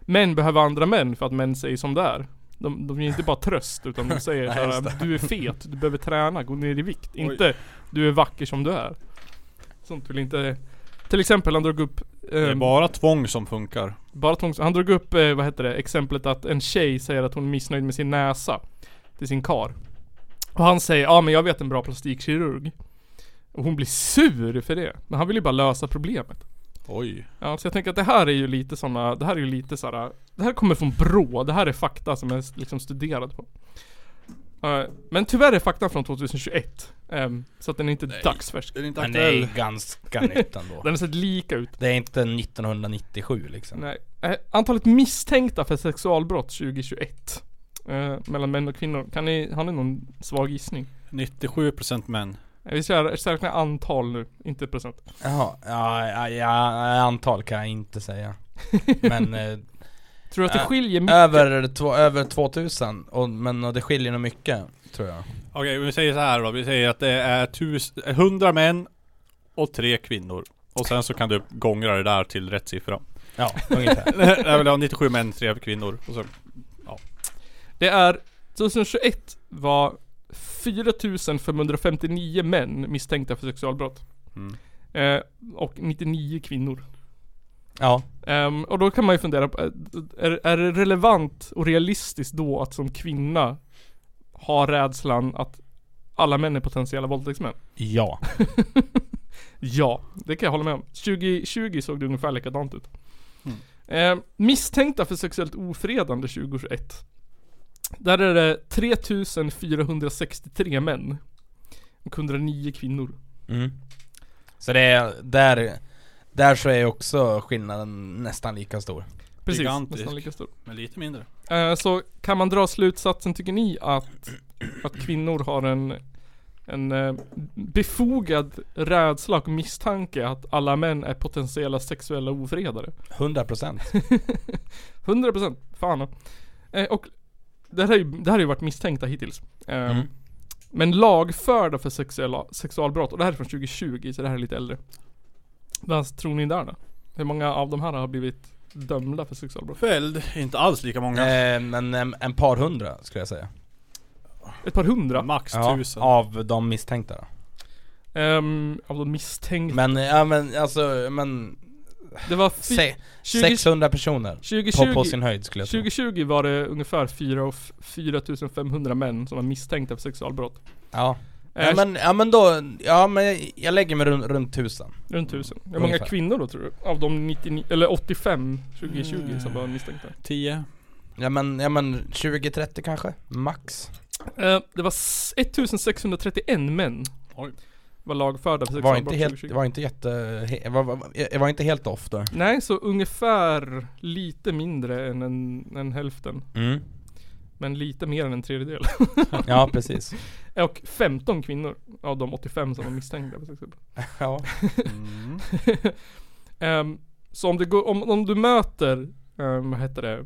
Speaker 1: Män behöver andra män för att män säger som det är. De, de ger inte bara tröst utan de säger
Speaker 4: Nej, just det.
Speaker 1: såhär, du är fet, du behöver träna, gå ner i vikt. Inte, du är vacker som du är. Sånt vill inte... Till exempel han drog upp...
Speaker 5: Det är
Speaker 1: Eh,
Speaker 5: bara tvång som funkar.
Speaker 1: bara tvångs- han drog upp, eh, vad heter det, exemplet att en tjej säger att hon är missnöjd med sin näsa till sin kar. Och han säger, ja men jag vet en bra plastikkirurg. Och hon blir sur för det. Men han vill ju bara lösa problemet.
Speaker 5: Oj.
Speaker 1: Ja, så jag tänker att det här är ju lite såna, det här är ju lite såhär, det här kommer från BRÅ, det här är fakta som är liksom studerad på. Eh, men tyvärr är faktan från 2021, ehm, så att den är inte dagsfärsk.
Speaker 5: Den är inte
Speaker 4: Men det är ju ganska nytt ändå
Speaker 1: Den har sett lika ut.
Speaker 4: Det är inte 1997 liksom
Speaker 1: Nej. Eh, antalet misstänkta för sexualbrott 2021. eh, mellan män och kvinnor. Kan ni, har ni någon svag gissning?
Speaker 5: 97% män.
Speaker 1: Eh, Vi kör, räknar antal nu, inte procent.
Speaker 4: Jaha, ja, ja, ja, antal kan jag inte säga Men eh,
Speaker 1: Tror du att det
Speaker 4: Eh,
Speaker 1: skiljer mycket?
Speaker 4: över, två, över 2000, och, men och det skiljer nog mycket tror jag
Speaker 5: Okej, vi säger så här då. Vi säger att det är tus- 100 män och tre kvinnor. Och sen så kan du gångra det där till rätt siffra.
Speaker 4: Ja, ungefär
Speaker 5: Nej, jag vill ha 97 män, tre kvinnor. Och så,
Speaker 1: Det är 2021 var 4559 män misstänkta för sexualbrott.
Speaker 5: Mm.
Speaker 1: Eh, och 99 kvinnor.
Speaker 4: Ja,
Speaker 1: Ehm, och då kan man ju fundera på, eh, är, är det relevant och realistiskt då att som kvinna ha rädslan att alla män är potentiella våldtäktsmän?
Speaker 4: ja
Speaker 1: Ja, det kan jag hålla med om. 2020 såg det ungefär likadant ut. Eh, misstänkta för sexuellt ofredande 2021. Där är det 3463 män. Och 109 kvinnor.
Speaker 4: Mm. Så det är, där, där så är också skillnaden nästan lika stor.
Speaker 1: Precis,
Speaker 5: Gigantisk.
Speaker 1: nästan lika stor.
Speaker 5: men lite mindre.
Speaker 1: Eh, så kan man dra slutsatsen, tycker ni, att, att kvinnor har en, en eh, befogad rädsla och misstanke att alla män är potentiella sexuella ofredare?
Speaker 4: 100%
Speaker 1: 100 procent. Fan. Eh, och det här, är ju, det här har ju varit misstänkta hittills. Eh,
Speaker 4: Mm.
Speaker 1: Men lagförda för sexuella, sexualbrott, och det här är från 2020 så det här är lite äldre. Vad tror ni där då? Hur många av de här har blivit dömda för sexualbrott?
Speaker 5: Fälld, inte alls lika många.
Speaker 4: eh, Men en, en par hundra skulle jag säga.
Speaker 1: Ett par hundra?
Speaker 5: Max
Speaker 4: Ja,
Speaker 5: tusen.
Speaker 4: av de misstänkta då.
Speaker 1: Ehm, av de misstänkta.
Speaker 4: Men, eh, ja men alltså, men
Speaker 1: det var fy-
Speaker 4: se,
Speaker 1: 20
Speaker 4: 600 personer. På,
Speaker 1: 2020,
Speaker 4: på sin höjd skulle jag säga.
Speaker 1: 2020 var det ungefär 4 och f- 4 500 män som var misstänkta för sexualbrott.
Speaker 4: Ja.
Speaker 1: Eh,
Speaker 4: Ja men, ja men då, ja men jag- jag lägger mig runt, runt tusen.
Speaker 1: Runt 1000. Hur många
Speaker 4: Ungefär.
Speaker 1: kvinnor då tror du? Av de 99, eller 85 2020 som var misstänkta.
Speaker 5: 10.
Speaker 4: Ja men, ja men 20-30 kanske? Max?
Speaker 1: Eh, det var s- 1631 män.
Speaker 5: Oj.
Speaker 1: Var lagförda för
Speaker 4: Var
Speaker 1: sexualbrott
Speaker 4: inte helt,
Speaker 1: 2020.
Speaker 4: var inte jätte, he- var, var, var inte helt off då.
Speaker 1: Nej, så ungefär lite mindre än, en, än hälften.
Speaker 4: Mm.
Speaker 1: Men lite mer än en tredjedel.
Speaker 4: Ja precis.
Speaker 1: Och 15 kvinnor av de 85 som var misstänkta för sexualbrott.
Speaker 4: Ja.
Speaker 5: Mm.
Speaker 1: Ehm, så om, det går, om, om du möter, ehm, vad heter det?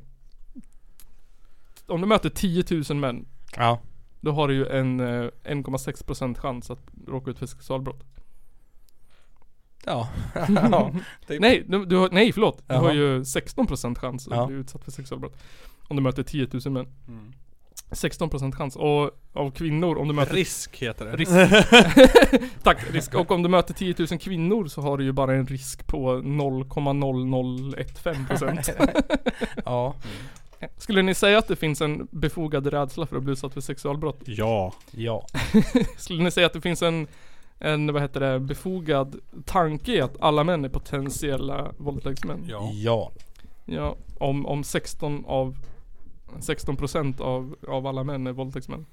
Speaker 1: Om du möter 10 000 män,
Speaker 4: Ja.
Speaker 1: då har du ju en eh, 1,6% chans att råka ut för sexualbrott.
Speaker 4: Ja. ja. Typ.
Speaker 1: Nej, du, du har, nej förlåt. Du har
Speaker 4: Jaha.
Speaker 1: ju 16% chans att
Speaker 4: Ja.
Speaker 1: bli utsatt för sexualbrott. Om du möter 10 000 män.
Speaker 5: Mm.
Speaker 1: 16% chans. Och av kvinnor, om du möter...
Speaker 5: Risk heter det.
Speaker 1: Risk. Tack, risk. Och om du möter 10 000 kvinnor så har du ju bara en risk på 0,0015%.
Speaker 4: Ja.
Speaker 1: Skulle ni säga att det finns en befogad rädsla för att bli utsatt för sexualbrott?
Speaker 5: Ja.
Speaker 4: Ja.
Speaker 1: Skulle ni säga att det finns en, en vad heter det, befogad tanke i att alla män är potentiella våldtäktsmän?
Speaker 5: Ja.
Speaker 4: Ja.
Speaker 1: Ja, om, om 16 av 16% av, av alla män är våldtäktsmän.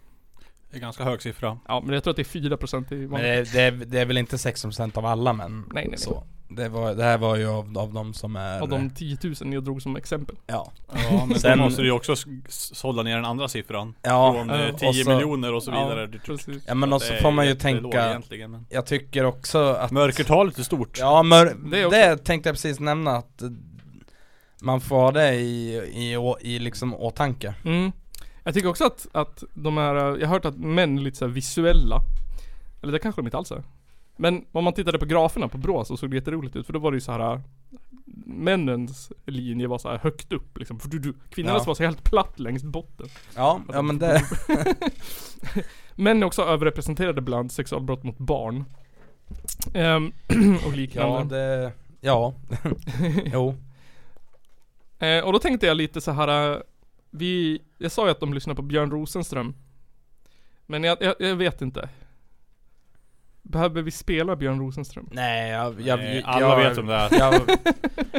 Speaker 5: Det är ganska hög siffra.
Speaker 1: Ja men jag tror att det är 4% i
Speaker 4: Men
Speaker 1: vanliga.
Speaker 4: det, det, är, det är väl inte 16% av alla män?
Speaker 1: nej, nej.
Speaker 4: Så. Det, var, det här var ju av, av de som är...
Speaker 1: Av de 10 000 jag drog som exempel.
Speaker 4: Ja.
Speaker 5: Ja, men
Speaker 4: Sen-
Speaker 5: Sen... då måste du ju också s- s- sålla ner den andra siffran.
Speaker 4: Ja,
Speaker 5: Från eh,
Speaker 1: och
Speaker 5: 10
Speaker 4: så-
Speaker 5: miljoner och så vidare.
Speaker 1: Ja, precis.
Speaker 4: ja men
Speaker 5: Så
Speaker 4: och så
Speaker 5: det är
Speaker 4: får man ju
Speaker 5: jättelåg
Speaker 4: tänka...
Speaker 5: egentligen, men...
Speaker 4: Jag tycker också att...
Speaker 5: Mörkertalet är stort.
Speaker 4: Ja, mör,
Speaker 1: Det
Speaker 4: det,
Speaker 1: också.
Speaker 4: tänkte jag precis nämna att eh, man får ha det i, i, å- i liksom åtanke.
Speaker 1: Mm. Jag tycker också att, att de här, jag har hört att män är lite så här visuella. Eller det kanske de inte alls är. Men om man tittade på graferna på BRÅ så såg det jätteroligt ut för då var det ju så här Männens linje var så här högt upp liksom. Du, du. Kvinnornas
Speaker 4: Ja.
Speaker 1: var så helt platt längs botten.
Speaker 4: Ja, ja men det...
Speaker 1: Män är också överrepresenterade bland sexualbrott mot barn. Ehm, och liknande.
Speaker 4: Ja, det... Ja. jo.
Speaker 1: Eh, och då tänkte jag lite så här. eh, Vi, jag sa ju att de lyssnar på Björn Rosenström. Men jag, jag, jag vet inte. Behöver vi spela Björn Rosenström?
Speaker 4: Nej, jag... jag
Speaker 5: Nej,
Speaker 4: jag,
Speaker 5: Eh, alla vet om det här.
Speaker 4: Jag,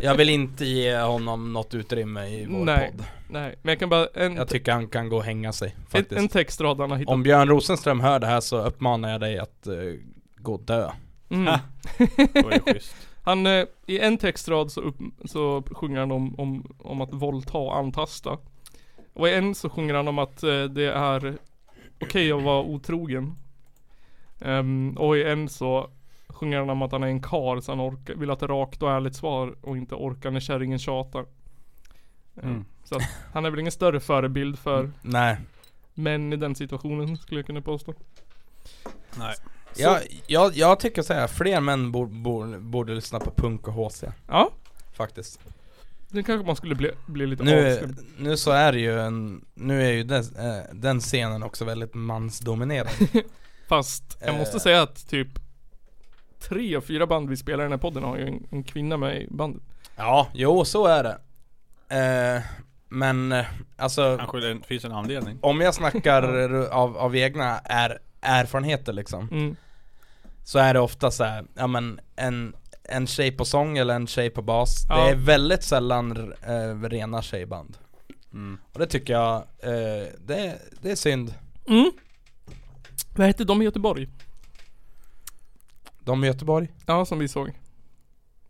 Speaker 4: jag vill inte ge honom något utrymme i vår
Speaker 1: Nej,
Speaker 4: podd.
Speaker 1: Nej, men jag kan bara, en,
Speaker 4: Jag tycker han kan gå och hänga sig
Speaker 1: en,
Speaker 4: faktiskt.
Speaker 1: en textrad han har hittat.
Speaker 4: Om Björn Rosenström hör det här så uppmanar jag dig att eh, gå och dö.
Speaker 1: Mm.
Speaker 5: Det var ju schysst.
Speaker 1: Han, eh, i en textrad så, upp, så sjunger han om, om, om att våldta och antasta. Och i en så sjunger han om att eh, det är okej att vara otrogen. Ehm, och i en så sjunger han om att han är en karl så han orkar, vill ha ett rakt och ärligt svar och inte orkar när kärringen tjatar. Ehm,
Speaker 5: Mm.
Speaker 1: Så att han är väl ingen större förebild för
Speaker 4: Nej.
Speaker 1: män i den situationen skulle jag kunna påstå.
Speaker 5: Nej.
Speaker 4: Jag, jag, jag tycker så här, fler män bor, bor, borde lyssna på punk och HC
Speaker 1: Ja,
Speaker 4: faktiskt.
Speaker 1: nu kanske man skulle bli, bli lite
Speaker 4: Nu,
Speaker 1: avskrämd.
Speaker 4: nu så är det ju en, nu är ju den, eh, den scenen också väldigt mansdominerad.
Speaker 1: Fast jag måste
Speaker 4: Eh.
Speaker 1: säga att typ tre av fyra band vi spelar i den här podden har ju en, en kvinna med i bandet.
Speaker 4: ja, jo så är det. Eh, men eh, alltså
Speaker 5: Kanske det finns en anledning.
Speaker 4: om jag snackar av, av egna är, erfarenheter liksom.
Speaker 1: Mm.
Speaker 4: Så är det ofta så här, ja men en, en tjej på sång eller en tjej på bas
Speaker 1: Ja.
Speaker 4: Det är väldigt sällan eh, rena tjejband Och det tycker jag, eh, det, det är synd
Speaker 1: Mm. Vad hette de i Göteborg?
Speaker 4: De i Göteborg?
Speaker 1: Ja, som vi såg.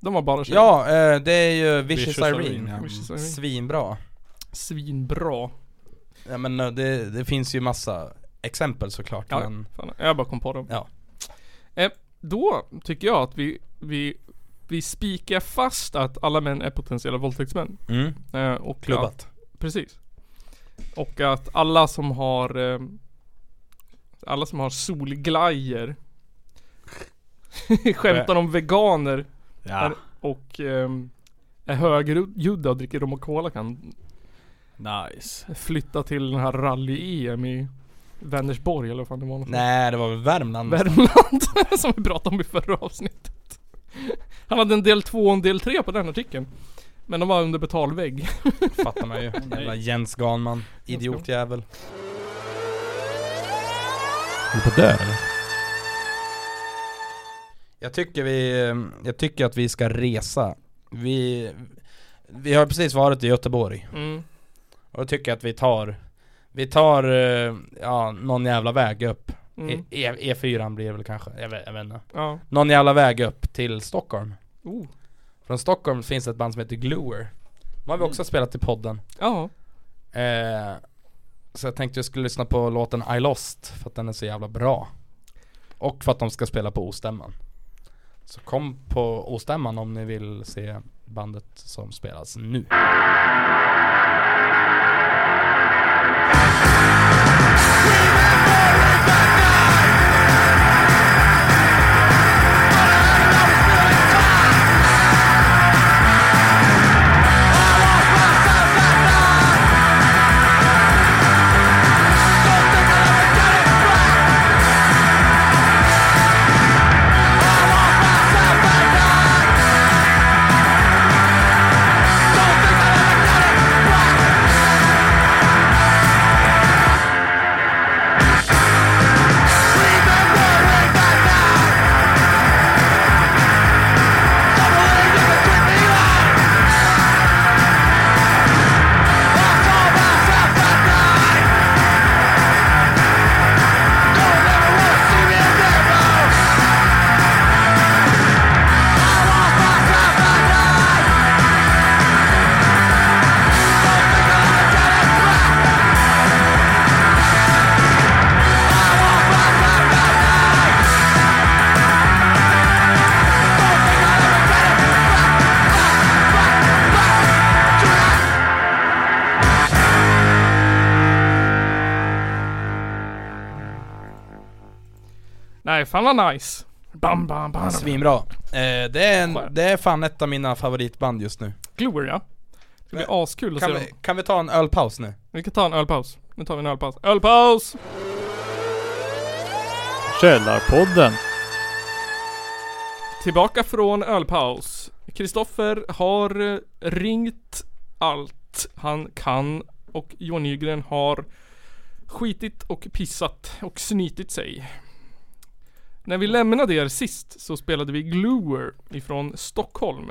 Speaker 1: De var bara tjejer.
Speaker 4: Ja, eh, det är ju Vicious,
Speaker 5: Vicious
Speaker 4: Irene,
Speaker 5: Irene, ja.
Speaker 1: Vicious Irene.
Speaker 4: Svinbra
Speaker 1: Svinbra.
Speaker 4: Ja men eh, det, det finns ju massa exempel såklart
Speaker 1: Ja,
Speaker 4: men
Speaker 1: fan, jag bara kom på dem.
Speaker 4: Ja.
Speaker 1: Eh, då tycker jag att vi, vi, vi spikar fast att alla män är potentiella våldtäktsmän.
Speaker 4: mm,
Speaker 1: Eh, och att
Speaker 4: klubbat
Speaker 1: Precis. Och att alla som har eh, Alla som har solglajer Skämtar om veganer
Speaker 5: Ja.
Speaker 1: och ehm, är högljudda och dricker rom och cola kan
Speaker 5: Nice.
Speaker 1: flytta till den här rally-EM i Vänersborg eller vad fan det var någonstans.
Speaker 4: Nej det var väl Värmland
Speaker 1: Värmland som vi pratade om i förra avsnittet. Han hade en del 2 och en del 3 på den artikeln. Men de var under betalvägg.
Speaker 4: fattar man ju Jävla Jens Ganman, idiotjävel Håller på dö Jag tycker vi, eh, jag tycker att vi ska resa Vi, vi har precis varit i Göteborg
Speaker 1: Mm.
Speaker 4: och jag tycker att vi tar Vi tar, eh, ja, någon jävla väg upp
Speaker 1: Mm.
Speaker 4: E, e, E4 blir det väl kanske, jag vet, jag vet inte
Speaker 1: Ja.
Speaker 4: Någon jävla väg upp till Stockholm
Speaker 1: Oh.
Speaker 4: Från Stockholm finns ett band som heter Gluer De har vi också spelat i podden
Speaker 1: Ja.
Speaker 4: eh, Så jag tänkte jag skulle lyssna på låten I Lost för att den är så jävla bra Och för att de ska spela på Ostämman Så kom på Ostämman om ni vill se bandet som spelas nu
Speaker 9: I
Speaker 1: Nej, fan vad nice. Bam, bam, bam.
Speaker 4: Svinbra. Eh, det, är en, det är fan ett av mina favoritband just nu.
Speaker 1: Gloria. Det ska bli askul att se
Speaker 4: Kan
Speaker 1: dem.
Speaker 4: vi, kan vi ta en ölpaus nu?
Speaker 1: Vi kan ta en ölpaus. Nu tar vi en ölpaus. Ölpaus!
Speaker 5: Källarpodden.
Speaker 1: Tillbaka från ölpaus. Kristoffer har eh, ringt allt han kan och Johan Nygren har skitit och pissat och snytit sig. När vi lämnade er sist så spelade vi Gluer ifrån Stockholm.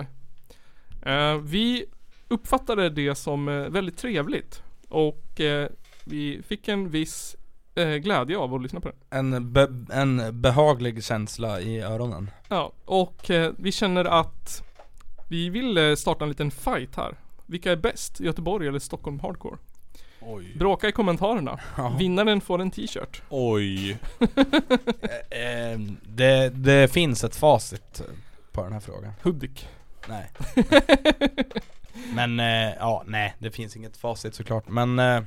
Speaker 1: Eh, vi uppfattade det som eh, väldigt trevligt och eh, vi fick en viss eh, glädje av att lyssna på det.
Speaker 4: En, be, en behaglig känsla i öronen.
Speaker 1: Ja, och eh, vi känner att vi vill eh, starta en liten fight här. Vilka är bäst? Göteborg eller Stockholm Hardcore?
Speaker 5: Oj.
Speaker 1: Bråka i kommentarerna.
Speaker 4: Ja.
Speaker 1: Vinnaren får en t-shirt.
Speaker 5: Oj.
Speaker 4: Eh, det, det finns ett facit på den här frågan.
Speaker 1: Hudik.
Speaker 4: Nej. men eh, ja, nej det finns inget facit såklart men eh,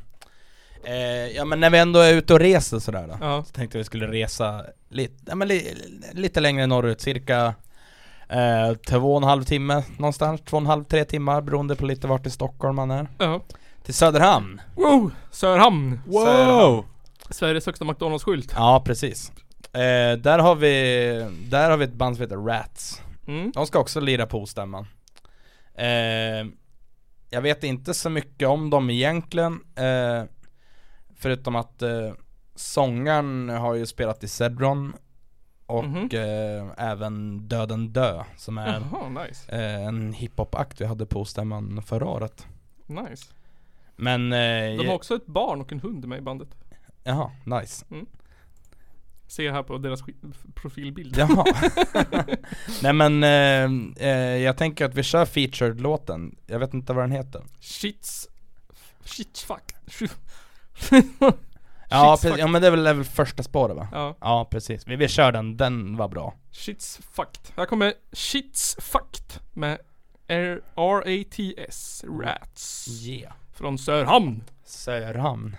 Speaker 4: eh, Ja men när vi ändå är ute och reser sådär då
Speaker 1: Ja.
Speaker 4: Så tänkte vi skulle resa lite, ja, men li, lite längre norrut cirka eh, Två och en halv timme någonstans, två och en halv, tre timmar beroende på lite vart i Stockholm man är
Speaker 1: Ja.
Speaker 4: Till Söderhamn!
Speaker 1: Wow! Sörhamn.
Speaker 4: Söderhamn.
Speaker 1: Sveriges högsta McDonalds-skylt.
Speaker 4: Ja precis eh, Där har vi, där har vi ett band som heter Rats
Speaker 1: Mm.
Speaker 4: De ska också lira på stämman. Eh, jag vet inte så mycket om dem egentligen. Eh, förutom att eh, sångaren har ju spelat i Cedron. Och
Speaker 1: Mhm.
Speaker 4: eh, även Döden Dö som är
Speaker 1: Jaha, nice.
Speaker 4: eh, en hiphop-akt vi hade på stämman förra året.
Speaker 1: Nice.
Speaker 4: Men, eh,
Speaker 1: De har
Speaker 4: ja-
Speaker 1: också ett barn och en hund med i bandet.
Speaker 4: jaha, nice.
Speaker 1: Ser jag här på deras sk- profilbild.
Speaker 4: Jaha. Nej men eh, eh, jag tänker att vi kör featured-låten. Jag vet inte vad den heter.
Speaker 1: Shits... Shit fuck.
Speaker 4: Ja,
Speaker 1: Shits
Speaker 4: precis,
Speaker 1: fuck.
Speaker 4: ja men det är väl, det är väl första spåret va?
Speaker 1: Ja.
Speaker 4: Ja precis, vi, vi kör den, den var bra
Speaker 1: Shits fucked. Här kommer Shits fucked med R- R-A-T-S, Rats.
Speaker 4: Yeah
Speaker 1: Från Sörhamn.
Speaker 4: Sörhamn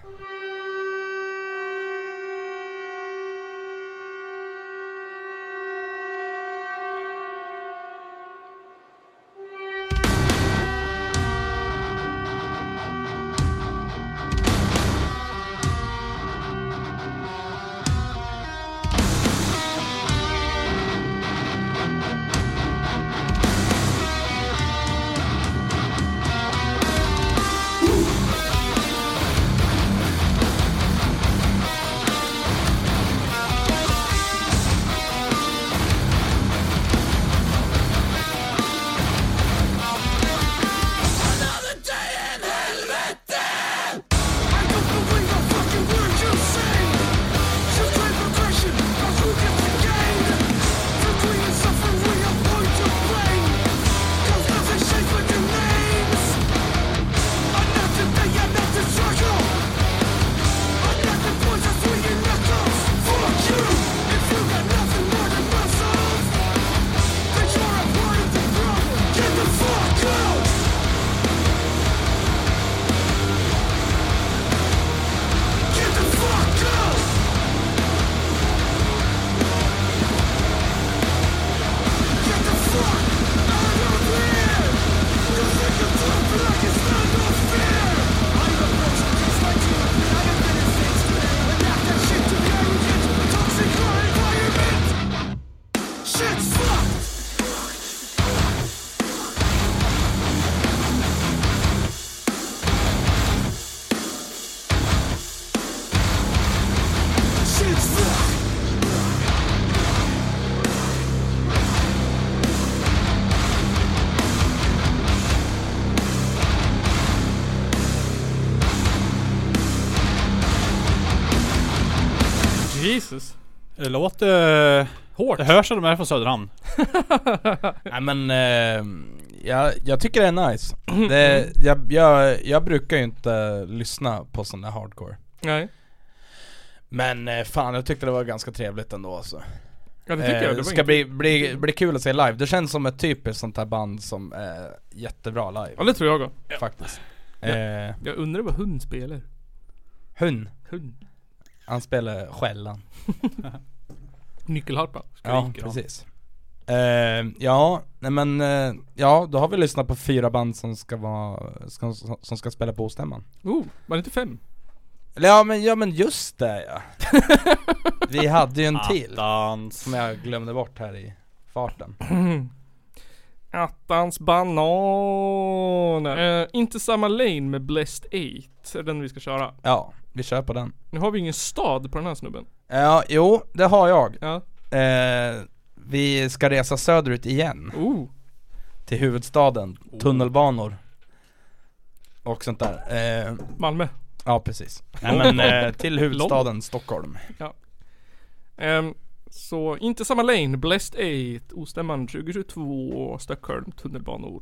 Speaker 1: Jesus.
Speaker 5: Det låter...
Speaker 1: Hårt.
Speaker 5: Det hörs att de är från Söderhamn.
Speaker 4: Nej men, eh, jag, jag tycker det är nice det, jag, jag, jag brukar ju inte lyssna på sån där hardcore
Speaker 1: Nej.
Speaker 4: Men eh, fan jag tyckte det var ganska trevligt ändå alltså
Speaker 1: Ja det tycker
Speaker 4: eh,
Speaker 1: jag. Det var
Speaker 4: Ska
Speaker 1: inte-
Speaker 4: bli, bli, bli kul att se live, det känns som ett typiskt sånt här band som är jättebra live
Speaker 1: Ja det tror jag också.
Speaker 4: faktiskt
Speaker 1: Ja.
Speaker 4: eh,
Speaker 1: Jag undrar vad hund spelar.
Speaker 4: Hun,
Speaker 1: Hund.
Speaker 4: han spelar skällan
Speaker 1: Nyckelharpa.
Speaker 4: Ja, precis. Eh, ja, nej men, eh, ja då har vi lyssnat på fyra band som ska vara, ska, som ska spela på stämman
Speaker 1: Oh, var det inte fem?
Speaker 4: Eller ja men, ja men just det ja Vi hade ju en till
Speaker 10: Attans.
Speaker 4: som jag glömde bort här i farten
Speaker 1: Attans bananer. Eh, inte samma lane med Blessed 8. Är den vi ska köra.
Speaker 4: Ja, vi kör på den Eh,
Speaker 1: Nu har vi ingen stad på den här snubben.
Speaker 4: Ja, jo det har jag
Speaker 1: Ja.
Speaker 4: eh, Vi ska resa söderut igen
Speaker 1: Oh.
Speaker 4: till huvudstaden, tunnelbanor och sånt där eh,
Speaker 1: Malmö.
Speaker 4: Ja precis, nej men eh, till huvudstaden Stockholm
Speaker 1: Ehm, så inte samma lane, Blessed 8, Ostämman 2022, Stockholm, tunnelbanor.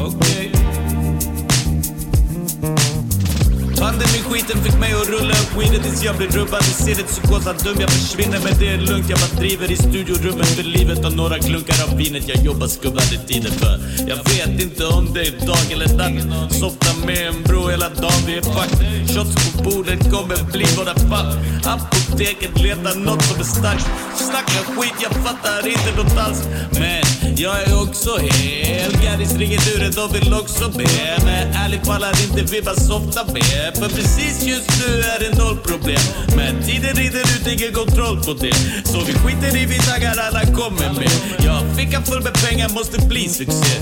Speaker 5: Okej. Handen i skiten fick mig att rulla upp weedet tills jag blev rubbad. Ni ser ett psykosat dum, jag försvinner men det är lugnt. Jag bara driver i studiorummet för livet och några klunkar av vinet. Jag jobbar skubblade tider för jag vet inte om det är dag eller natt. Softar med en bro hela dagen, vi är fucked. Shots på bordet kommer bli våra fall. Apoteket letar något som är starkt. Snackar skit, jag fattar inte något alls. Men jag är också hel. Garris ringer luren, de vill också be. Men ärligt talat inte vibbar softa med. För precis just nu är det noll problem. Men tiden rider ut, ingen kontroll på det. Så vi skiter i, vi taggar, alla kommer med. Jag har fickan full med pengar, måste bli succé.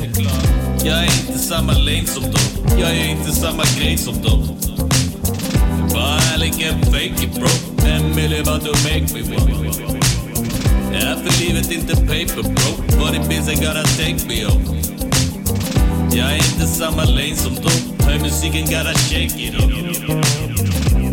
Speaker 5: Jag är inte samma lane som dem. Jag är inte samma grej som dem. But I like a fake it bro En million vad du make me want Jag är för livet inte paper bro Vad det finns jag gotta take me on Jag är inte samma lane som dem Hör musiken gotta shake it up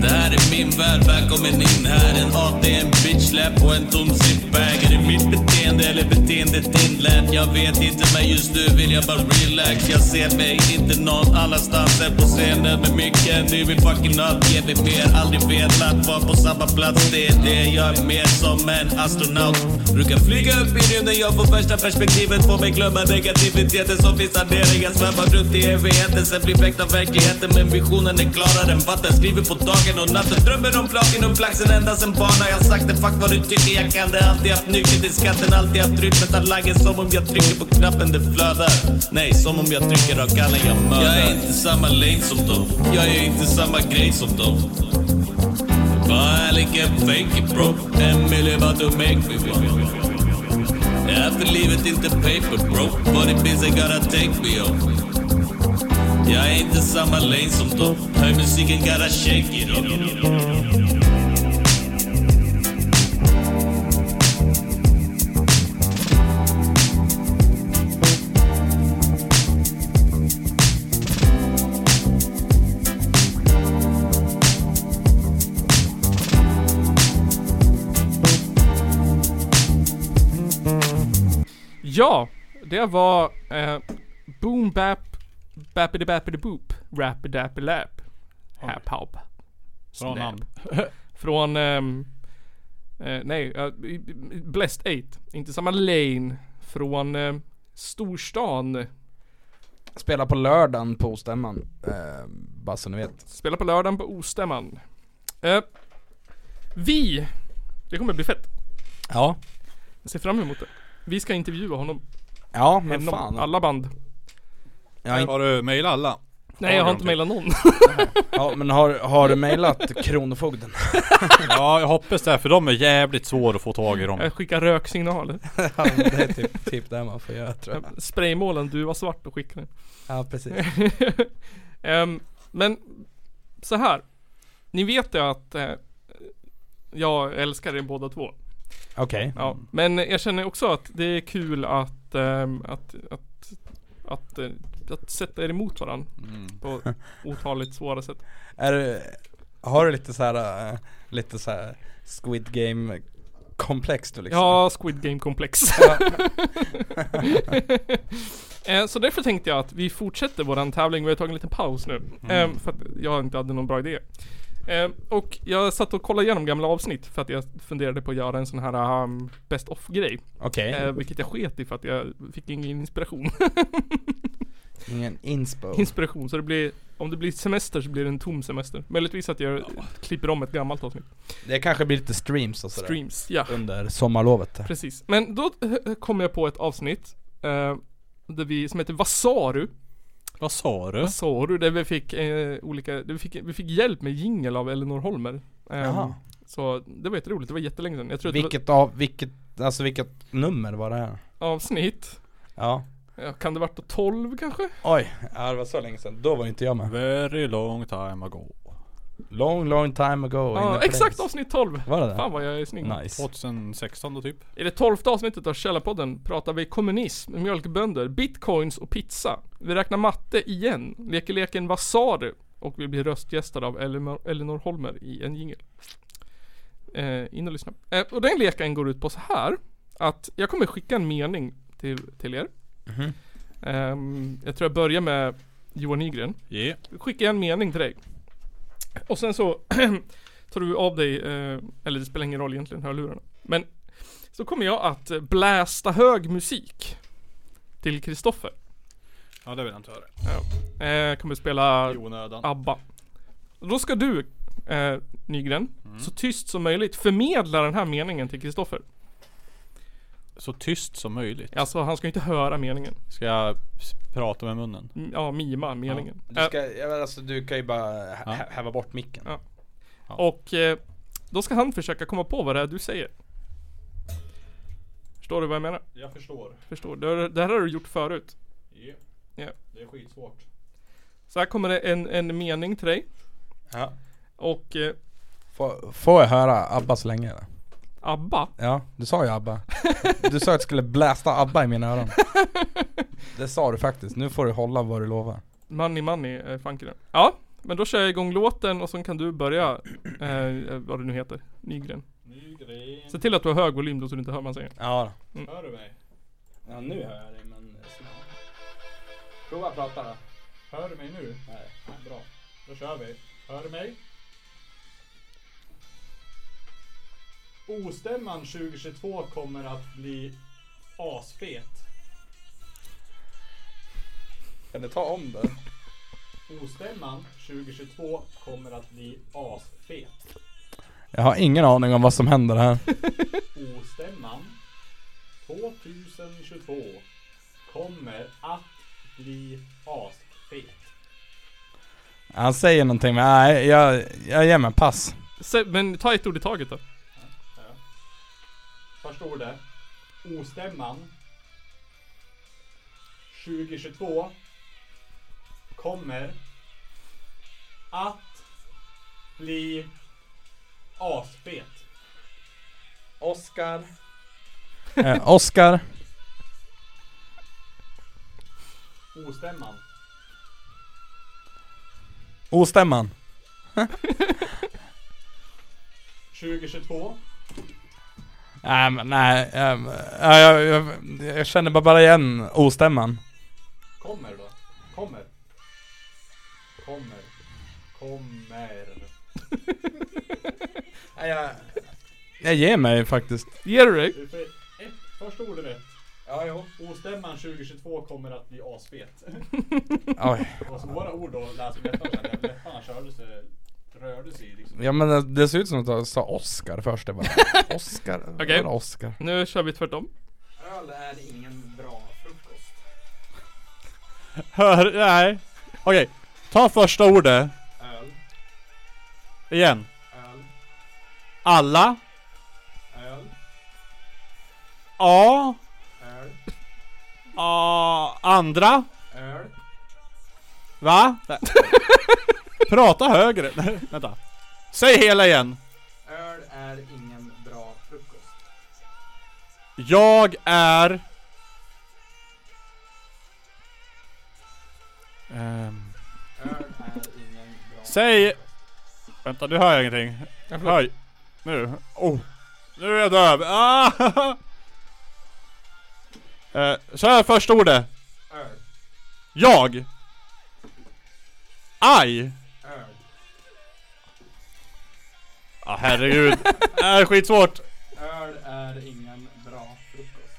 Speaker 5: det här är min värld, välkommen in här En AT, en bitch slap och en tom zipbag Är det mitt beteende eller beteendet inlärt? Jag vet inte men just nu vill jag bara relax Jag ser mig inte någon annanstans än på scenen med micken Nu vill fucking allt ge mig mer Aldrig velat vara på samma plats Det är det jag är mer som en astronaut Brukar flyga upp i rymden, jag får värsta perspektivet Får mig glömma negativiteten som finns där nere Jag svävar runt i evigheten, sen blir väckt av verkligheten Men visionen är klarare än vatten, skriver på dagen och natten Drömmer om platinum, flaxen ända sen barna Jag sagt det, fuck vad du tycker, jag kan det Alltid haft nyckeln till skatten, alltid haft rytmen Talangen som om jag trycker på knappen, det flödar Nej, som om jag trycker av gallen jag mördar Jag är inte samma lane som dem Jag är inte samma grej som dem Bara ärlig, en fake it bro En miljö vad du make me want jag är för livet inte paper bro Vad det finns jag gotta take me on Jag är inte samma lane som dem Hör musiken gotta shake it up
Speaker 1: Ja, det var eh, Boom Bap Bappity Bappity Boop Rappy Dappy Lap Hap Hop
Speaker 10: Bra namn.
Speaker 1: Från ehm, eh, Nej, eh, Blessed 8 Inte samma lane Från eh, Storstan
Speaker 4: Spela på lördagen på stämman eh, bara så ni vet
Speaker 1: Spelar på lördagen på Ostämman eh, Vi Det kommer bli fett
Speaker 4: Ja
Speaker 1: Jag ser fram emot det Vi ska intervjua honom
Speaker 4: Ja men
Speaker 1: Även om
Speaker 4: fan
Speaker 1: alla band
Speaker 4: ja, inte-
Speaker 10: Har du mejlat alla?
Speaker 1: Nej jag har
Speaker 10: de
Speaker 1: inte
Speaker 10: typ?
Speaker 1: mejlat någon
Speaker 4: ja men har, har du mejlat Kronofogden?
Speaker 10: Ja, jag hoppas det. För de är jävligt svåra att få tag i dem.
Speaker 5: Äh,
Speaker 1: Jag skickar röksignaler
Speaker 4: Ja, det är typ, typ det man får göra tror jag
Speaker 1: Spraymålen, du var svart och skickade den
Speaker 4: Ja precis
Speaker 1: Ehm, Men så här Ni vet ju att eh, Jag älskar er båda två
Speaker 4: Okej
Speaker 1: ja. Men jag känner också att det är kul att ehm, att, att, att, eh, att sätta er emot varandra På otaligt svåra sätt
Speaker 4: Är du, har du lite så här, eh, lite så här Squid Game komplext och liksom.
Speaker 1: Ja, Squid Game komplex. Eh, Så därför tänkte jag att vi fortsätter våran tävling, vi har tagit en liten paus nu. Eh, För att jag inte hade någon bra idé. Eh, Och jag satt och kollade igenom gamla avsnitt för att jag funderade på att göra en sån här um, best of grej.
Speaker 4: Okej.
Speaker 1: Vilket jag sket i för att jag fick ingen inspiration.
Speaker 4: Ingen inspo.
Speaker 1: inspiration. Så det blir, om det blir semester så blir det en tom semester. Möjligtvis att jag klipper om ett gammalt avsnitt.
Speaker 4: Det kanske blir lite streams och sådär.
Speaker 1: Streams, ja.
Speaker 4: Under sommarlovet.
Speaker 1: Precis. Men då eh, kom jag på ett avsnitt eh, där vi, som heter Vasaru.
Speaker 5: Vad sa du?
Speaker 1: Vasaru, där vi fick eh, olika, där vi, fick, vi fick hjälp med jingel av Elinor Holmer. Ehm,
Speaker 4: Jaha.
Speaker 1: så det var jätteroligt, det var jättelänge sedan. Jag tror att det
Speaker 4: Vilket av, vilket, alltså vilket nummer var det här?
Speaker 1: var ett avsnitt.
Speaker 4: Ja.
Speaker 1: Ja, kan det varit 12 kanske?
Speaker 4: Oj, ja, det var så länge sedan. Då var inte jag med.
Speaker 5: Very long time ago.
Speaker 4: Long, long time ago. in
Speaker 1: Ja,
Speaker 4: the
Speaker 1: exakt
Speaker 4: place.
Speaker 1: avsnitt 12!
Speaker 4: Var det det?
Speaker 1: Fan vad jag är snygg.
Speaker 4: Nice.
Speaker 5: 2016 då typ.
Speaker 1: I det tolfte avsnittet av Källarpodden pratar vi kommunism, mjölkbönder, bitcoins och pizza. Vi räknar matte igen, leker leken Vad sa du? Och vi blir röstgästade av Elinor, Elinor Holmer i en jingel. Eh, in och lyssna. Eh, och den leken går ut på så här. Att jag kommer skicka en mening till, till er. Ehm, jag tror jag börjar med Johan Nygren.
Speaker 5: Yeah.
Speaker 1: Skickar jag en mening till dig. Och sen så tar du av dig, eh, eller det spelar ingen roll egentligen, hörlurarna. Men så kommer jag att eh, blästa hög musik till Kristoffer.
Speaker 5: Ja det vill jag inte höra.
Speaker 1: Eh, kommer spela
Speaker 5: I onödan.
Speaker 1: ABBA. Och Då ska du, eh, Nygren,
Speaker 4: Mm.
Speaker 1: så tyst som möjligt förmedla den här meningen till Kristoffer.
Speaker 5: Så tyst som möjligt.
Speaker 1: Alltså han ska ju inte höra meningen.
Speaker 5: Ska jag s- prata med munnen?
Speaker 1: Mm, Ja, mima meningen.
Speaker 4: Du, ska, ja, men alltså, du kan ju bara hä-
Speaker 5: Ja.
Speaker 4: hä- häva bort micken.
Speaker 1: Ja. eh, och eh, då ska han försöka komma på vad det är du säger. Förstår du vad jag menar?
Speaker 5: Jag förstår.
Speaker 1: Förstår. Det, här- det här har du gjort förut.
Speaker 5: Yeah.
Speaker 1: Ja.
Speaker 5: Det är skitsvårt.
Speaker 1: Så här kommer det en, en mening till dig.
Speaker 4: Ja.
Speaker 1: Och eh,
Speaker 4: Får, får jag höra ABBA så länge eller?
Speaker 1: ABBA.
Speaker 4: Ja, du sa ju ABBA. Du sa att jag skulle blästa ABBA i mina öron. Det sa du faktiskt. Nu får du hålla vad du lovar.
Speaker 1: Money Money är funky den. Ja, men då kör jag igång låten och så kan du börja, eh, vad du nu heter, Nygren.
Speaker 5: Nygren.
Speaker 1: Se till att du har hög volym då så du inte hör vad man säger.
Speaker 4: Ja.
Speaker 5: Hör du mig?
Speaker 4: ja nu hör jag dig men... Prova att prata då.
Speaker 5: Hör du mig nu? Nej. Bra. Då kör vi. Hör du mig? Ostämman 2022 kommer att bli asfet.
Speaker 4: Kan du ta om det?
Speaker 5: Ostämman 2022 kommer att bli asfet.
Speaker 4: Jag har ingen aning om vad som händer här.
Speaker 5: Ostämman 2022 kommer att bli asfet.
Speaker 4: Han säger någonting men nej, jag, jag ger mig pass.
Speaker 1: Se, men ta ett ord i taget då.
Speaker 5: Förstår det? Ostämman 2022 kommer att bli asfet. Oskar.
Speaker 4: Eh, Oscar.
Speaker 5: Ostämman.
Speaker 4: Ostämman.
Speaker 5: 2022.
Speaker 4: Nej men nej, ehm, ja, jag, jag, jag känner bara- bara igen ostämman.
Speaker 5: Kommer då. Kommer. Kommer. Kommer.
Speaker 4: Jag, jag ger mig faktiskt.
Speaker 1: Ger du dig?
Speaker 5: Du får ett första ordet rätt.
Speaker 4: Ja, jo.
Speaker 5: Ostämman 2022 kommer att bli asfet.
Speaker 4: Oj.
Speaker 5: Det var svåra ord att läsa läpparna kände jag. Läpparna körde sig, rörde sig liksom.
Speaker 4: Ja men det, det ser ut som att jag sa Oscar först. Det bara, Oscar?
Speaker 1: Okej.
Speaker 4: Vadå Oscar?
Speaker 1: Nu kör vi tvärtom.
Speaker 4: Öl är ingen bra frukost.
Speaker 5: Hör, nej. Okej. Ta första ordet.
Speaker 4: Öl,
Speaker 5: Igen.
Speaker 4: öl,
Speaker 5: Alla.
Speaker 4: öl,
Speaker 5: A.
Speaker 4: öl,
Speaker 5: A. Andra.
Speaker 4: öl.
Speaker 5: Va? Nej. Prata högre. Nej, vänta. Säg hela igen.
Speaker 4: Öl är ingen bra frukost.
Speaker 5: Jag är... Ehm,
Speaker 4: Öl är ingen bra
Speaker 5: säg... Vänta, nu hör jag ingenting. Hör. Nu. Oh. Nu är jag döv! Ah! Eh, så här första ordet. Jag. Aj. Ja ah, herregud. Det här är skitsvårt.
Speaker 4: Öl är ingen bra frukost.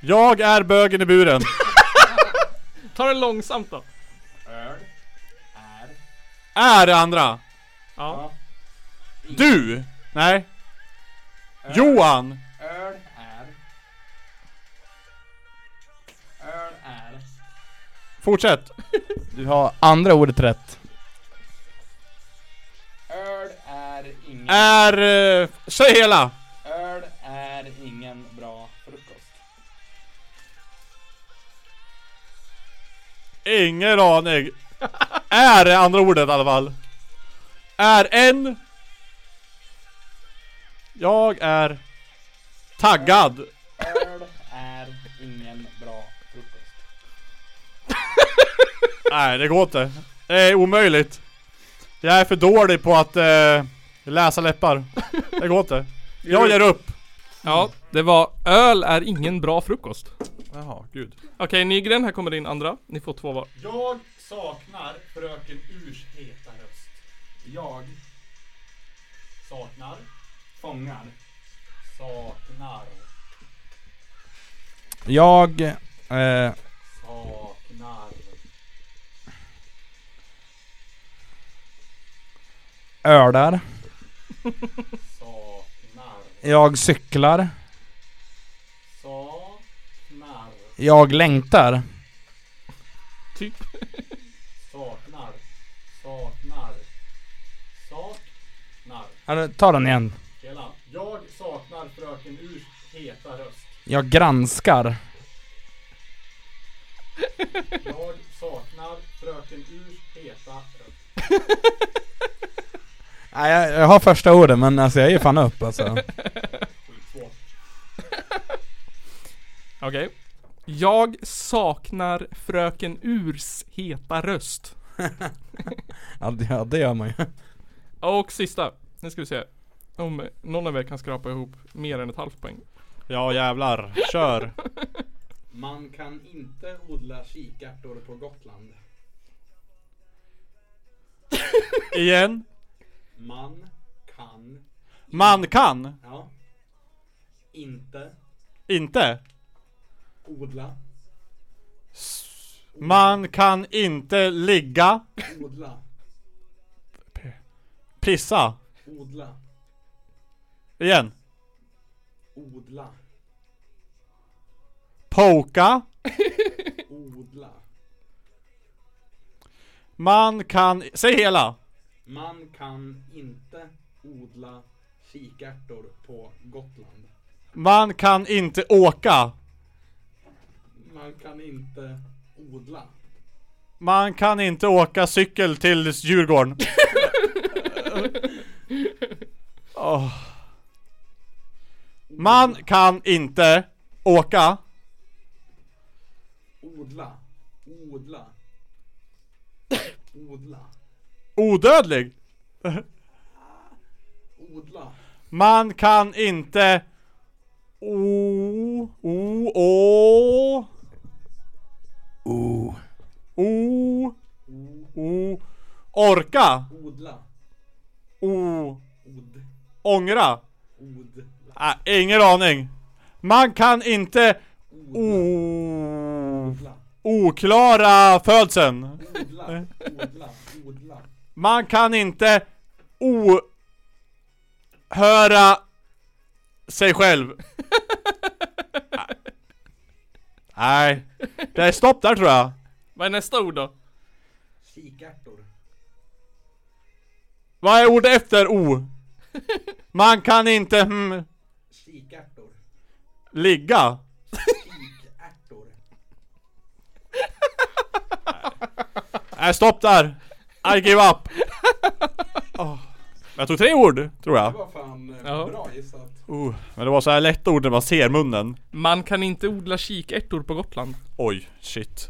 Speaker 5: Jag är bögen i buren.
Speaker 1: Ta det långsamt då.
Speaker 4: Öl är
Speaker 5: Är det
Speaker 4: Mm.
Speaker 5: andra.
Speaker 1: Ja.
Speaker 5: Du. Nej. Johan.
Speaker 4: Öl är Öl är
Speaker 5: Fortsätt.
Speaker 4: Du har andra ordet rätt. Öl är ingen
Speaker 5: Är... eh, säg hela.
Speaker 4: Öl är ingen bra frukost.
Speaker 5: Ingen aning. Är det andra ordet i alla fall. Är en... Jag är taggad.
Speaker 4: Öl är ingen bra frukost.
Speaker 5: Nej, det går inte. Det är omöjligt. Jag är för dålig på att eh, läsa läppar. Det går inte. Jag ger upp.
Speaker 1: Ja, det var öl är ingen bra frukost.
Speaker 5: Jaha, gud.
Speaker 1: Okej Nygren, här kommer din andra. Ni får två var.
Speaker 5: Jag saknar fröken Urs heta röst. Jag saknar,
Speaker 4: Fångar.
Speaker 5: saknar,
Speaker 4: Jag... Eh,
Speaker 5: saknar.
Speaker 4: ölar. Jag cyklar. Jag längtar.
Speaker 1: Typ.
Speaker 4: Alltså, ta den igen. Jag granskar. Jag saknar fröken Urs heta röst. Nej, jag, jag har första ordet men alltså jag ger fan upp alltså.
Speaker 1: Okej. Jag saknar fröken Urs heta röst.
Speaker 4: Ja, det- ja det gör man ju.
Speaker 1: Och sista. Nu ska vi se. Om någon av er kan skrapa ihop mer än ett halvt poäng.
Speaker 5: Ja jävlar, kör.
Speaker 4: Man kan inte odla kikärtor på Gotland.
Speaker 5: Igen.
Speaker 4: Man kan,
Speaker 5: Man kan
Speaker 4: ja, inte
Speaker 5: inte.
Speaker 4: odla,
Speaker 5: Man kan inte ligga,
Speaker 4: odla,
Speaker 5: pissa.
Speaker 4: odla,
Speaker 5: Igen.
Speaker 4: odla,
Speaker 5: Poka.
Speaker 4: odla.
Speaker 5: Man kan, säg hela.
Speaker 4: Man kan inte odla kikärtor på Gotland.
Speaker 5: Man kan inte åka.
Speaker 4: Man kan inte odla.
Speaker 5: Man kan inte åka cykel till Djurgården. Åh. Man kan inte åka.
Speaker 4: Odla. Odla. Odla.
Speaker 5: Odödlig.
Speaker 4: Odla.
Speaker 5: Man kan inte... O... O... O... O...
Speaker 4: O.
Speaker 5: O... Orka.
Speaker 4: Odla.
Speaker 5: O...
Speaker 4: Od.
Speaker 5: Ångra.
Speaker 4: Od.
Speaker 5: Ah, ingen aning. Man kan inte... O...
Speaker 4: Odla.
Speaker 5: Oklara födseln.
Speaker 4: Odla. Odla. Odla.
Speaker 5: Man kan inte o... Höra sig själv. Nej. Det är stopp där tror jag.
Speaker 1: Vad är nästa ord då?
Speaker 4: Kikärtor.
Speaker 5: Vad är ordet efter o? Man kan inte hmm,
Speaker 4: Kikärtor.
Speaker 5: ligga.
Speaker 4: Kikärtor.
Speaker 5: Nej, Äh, stopp där. I give up. Åh. Oh. Jag tog tre ord, tror jag.
Speaker 4: Vad fan eh,
Speaker 1: Ja.
Speaker 4: bra gissat.
Speaker 5: Oh, men det var så här lätta ord när man ser munnen.
Speaker 1: Man kan inte odla kikärtor på Gotland.
Speaker 5: Oj, shit.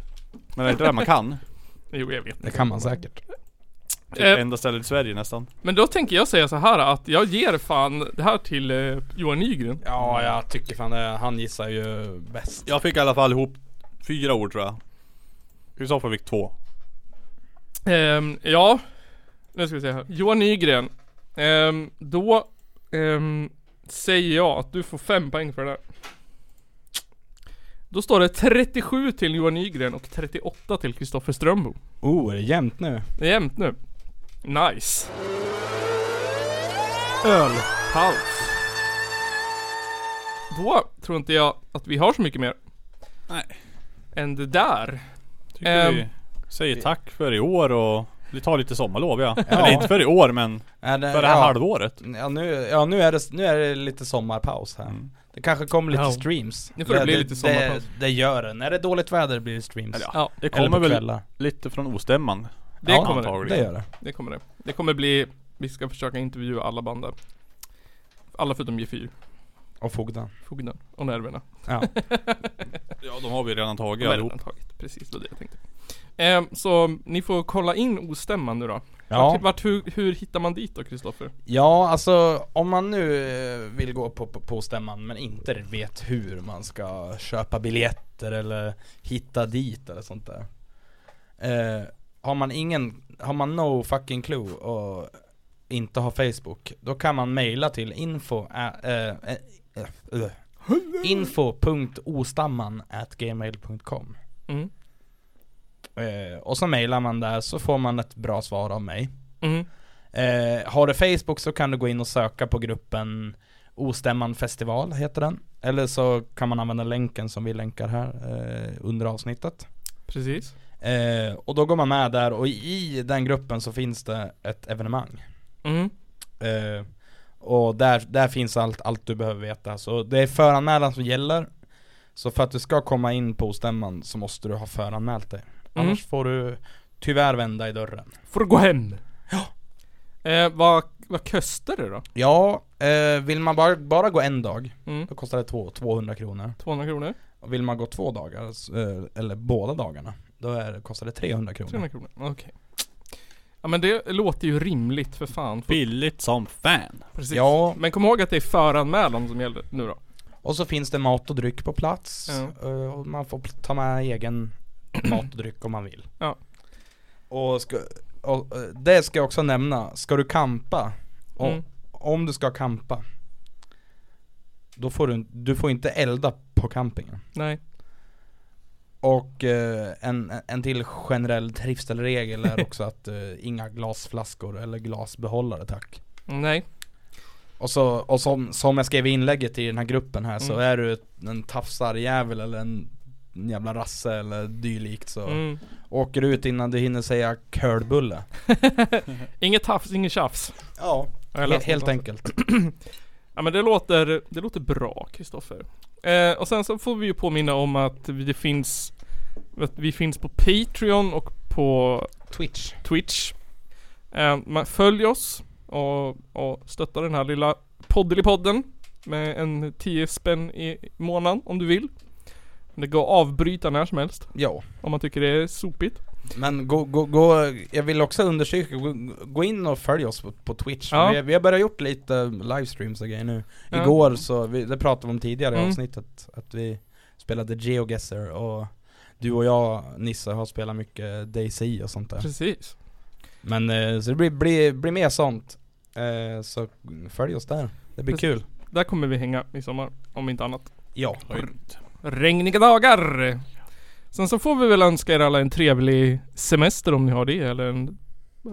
Speaker 5: Men det är inte det man kan.
Speaker 1: Jo, jag vet.
Speaker 4: Det kan man säkert.
Speaker 5: Typ
Speaker 1: Eh.
Speaker 5: enda stället i Sverige nästan.
Speaker 1: Men då tänker jag säga så här att jag ger fan det här till eh, Johan Nygren.
Speaker 4: Ja, jag tycker fan det. Han gissar ju bäst.
Speaker 5: Jag fick i alla fall ihop fyra ord tror jag. Kristoffer fick två.
Speaker 1: Ehm, ja, nu ska vi se här. Johan Nygren. Ehm, då ehm, säger jag att du får fem poäng för det där. Då står det 37 till Johan Nygren och 38 till Kristoffer Strömbo.
Speaker 4: Oh, är det jämnt nu?
Speaker 1: Det är jämnt nu. Nice. Ölpaus. Då tror inte jag att vi har så mycket mer
Speaker 5: Nej.
Speaker 1: än det där.
Speaker 5: Tycker
Speaker 1: Ehm.
Speaker 5: vi säger tack för i år och vi tar lite sommarlov ja.
Speaker 4: Ja.
Speaker 5: Eller inte för i år men
Speaker 4: Är det,
Speaker 5: för det här
Speaker 4: ja.
Speaker 5: halvåret.
Speaker 4: Ja, nu, ja nu, är det, nu är det lite sommarpaus här. Det kanske kommer lite
Speaker 1: Ja.
Speaker 4: streams.
Speaker 1: Nu får det bli lite sommarpaus.
Speaker 4: Det, det gör det. När det är dåligt väder blir det streams.
Speaker 5: Eller ja,
Speaker 1: Ja,
Speaker 5: Det
Speaker 4: Eller
Speaker 5: kommer
Speaker 4: på
Speaker 5: väl
Speaker 4: kvällar.
Speaker 5: lite från ostämman.
Speaker 1: det
Speaker 4: Ja,
Speaker 1: kommer det.
Speaker 5: antagligen.
Speaker 4: Det gör det.
Speaker 1: Det kommer det. Det kommer bli, vi ska försöka intervjua alla band där. Alla förutom G4,
Speaker 4: Och fogden.
Speaker 1: Fogden och Nerverna.
Speaker 4: Ja.
Speaker 5: Ja de har vi
Speaker 1: De
Speaker 5: redan tagit
Speaker 1: är
Speaker 5: allihop.
Speaker 1: redan tagit. Precis, det var det jag tänkte. Ehm, så ni får kolla in ostämman nu då.
Speaker 4: ja.
Speaker 1: Vart, vart, hur, hur hittar man dit då Kristoffer?
Speaker 4: Ja, alltså om man nu eh, vill gå på, på, på stämman men inte vet hur man ska köpa biljetter eller hitta dit eller sånt där. Eh, har man ingen, har man no fucking clue och inte har Facebook, då kan man mejla till info, ä- eh, eh, eh, eh, info.ostamman at gmail.com
Speaker 1: Mm.
Speaker 4: eh, Och så mejlar man där så får man ett bra svar av mig.
Speaker 1: Mm.
Speaker 4: Eh, har du Facebook så kan du gå in och söka på gruppen Ostämman festival heter den. Eller så kan man använda länken som vi länkar här eh, under avsnittet.
Speaker 1: Precis.
Speaker 4: Eh, och då går man med där och i den gruppen så finns det ett evenemang.
Speaker 1: Mm.
Speaker 4: Eh, och där, där finns allt, allt du behöver veta. Så det är föranmälan som gäller. Så för att du ska komma in på Ostämman så måste du ha föranmält dig.
Speaker 1: Mm.
Speaker 4: Annars får du tyvärr vända i dörren.
Speaker 1: Får gå hem. Ja. Eh, vad, vad kostar det då?
Speaker 4: Ja, eh, vill man bara, bara gå en dag
Speaker 1: Mm.
Speaker 4: Då kostar det två, 200 kronor.
Speaker 1: 200 kronor?
Speaker 4: Och vill man gå två dagar, s- eh, eller båda dagarna, då är, kostar det 300 kronor.
Speaker 1: 300 kronor, okej. Ja men det låter ju rimligt för fan. För,
Speaker 5: Billigt som fan.
Speaker 1: precis.
Speaker 4: Ja,
Speaker 1: Men kom ihåg att det är föranmälan som gäller nu då.
Speaker 4: och så finns det mat och dryck på plats.
Speaker 1: Ja.
Speaker 4: eh, Och man får pl- ta med egen mat och dryck om man vill.
Speaker 1: Ja.
Speaker 4: Och, ska, och eh, det ska jag också nämna, ska du kampa, och,
Speaker 1: Mm.
Speaker 4: om du ska kampa, då får du, du får inte elda på campingen.
Speaker 1: Nej.
Speaker 4: Och eh, en, en till generell trivselregel är också att eh, inga glasflaskor eller glasbehållare tack.
Speaker 1: Nej.
Speaker 4: Och, så, och som, som jag skrev i inlägget i den här gruppen här så
Speaker 1: Mm.
Speaker 4: är du ett- en tafsarjävel eller en en jävla rasse eller dylikt så
Speaker 1: Mm.
Speaker 4: åker du ut innan du hinner säga curlbulle.
Speaker 1: Inget tafs, inget tjafs.
Speaker 4: Ja,
Speaker 1: Jag har
Speaker 4: he-
Speaker 1: läst
Speaker 4: helt
Speaker 1: någonstans.
Speaker 4: enkelt.
Speaker 1: Ja men det låter, det låter bra Kristoffer. Eh, och sen så får vi ju påminna om att vi, det finns, att vi finns på Patreon och på
Speaker 4: Twitch.
Speaker 1: Twitch. Eh, man, följ oss och, och stötta den här lilla poddelipodden med en 10 spänn i månaden om du vill. Det går att avbryta när som helst
Speaker 4: Ja.
Speaker 1: om man tycker det är sopigt.
Speaker 4: Men gå, gå, gå, jag vill också undersöka, gå, gå in och följ oss på, på Twitch.
Speaker 1: Ja.
Speaker 4: Vi, vi har börjat gjort lite livestreams och grejer nu.
Speaker 1: Ja.
Speaker 4: Igår så, vi, det pratade vi om tidigare i
Speaker 1: Mm.
Speaker 4: avsnittet, att vi spelade GeoGuessr och du och jag Nisse har spelat mycket DayZ och sånt där.
Speaker 1: Eh, Precis.
Speaker 4: Men eh, så det blir, blir, blir mer sånt. Eh, så följ oss där, det blir
Speaker 1: Precis.
Speaker 4: kul.
Speaker 1: Där kommer vi hänga i sommar om inte annat.
Speaker 4: Ja.
Speaker 1: regniga dagar. Sen så får vi väl önska er alla en trevlig semester om ni har det eller en,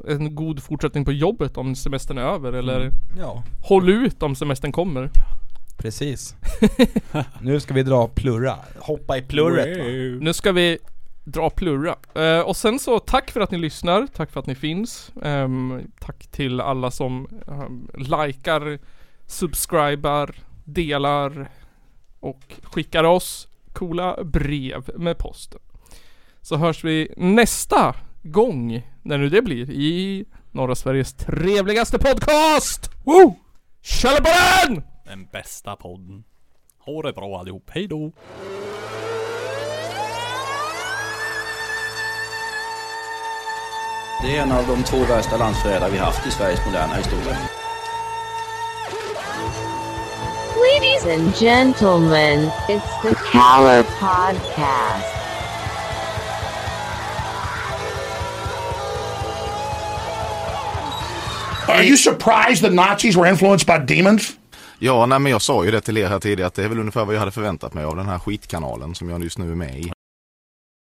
Speaker 1: en god fortsättning på jobbet om semestern är över eller
Speaker 4: Ja,
Speaker 1: håll ut om semestern kommer.
Speaker 4: precis. nu ska vi dra plurra, hoppa i plurret va?
Speaker 1: Nu ska vi dra plurra. Eh, och sen så tack för att ni lyssnar, tack för att ni finns. Ehm, tack till alla som um, likar, subscribar, delar och skickar oss coola brev med posten. Så hörs vi nästa gång, när nu det blir, i norra Sveriges trevligaste podcast! Woo! Tjalla på den!
Speaker 5: Den bästa podden. Ha det bra allihop. Hejdå.
Speaker 2: Det är en av de två värsta landsförrädare vi haft i Sveriges moderna historia.
Speaker 3: Ladies and gentlemen, it's the Caller Podcast.
Speaker 9: Are you surprised the Nazis were influenced by demons?
Speaker 5: Ja, nej, men jag sa ju det till er här tidigare att det är väl ungefär vad jag hade förväntat mig av den här skitkanalen som jag just nu är med i.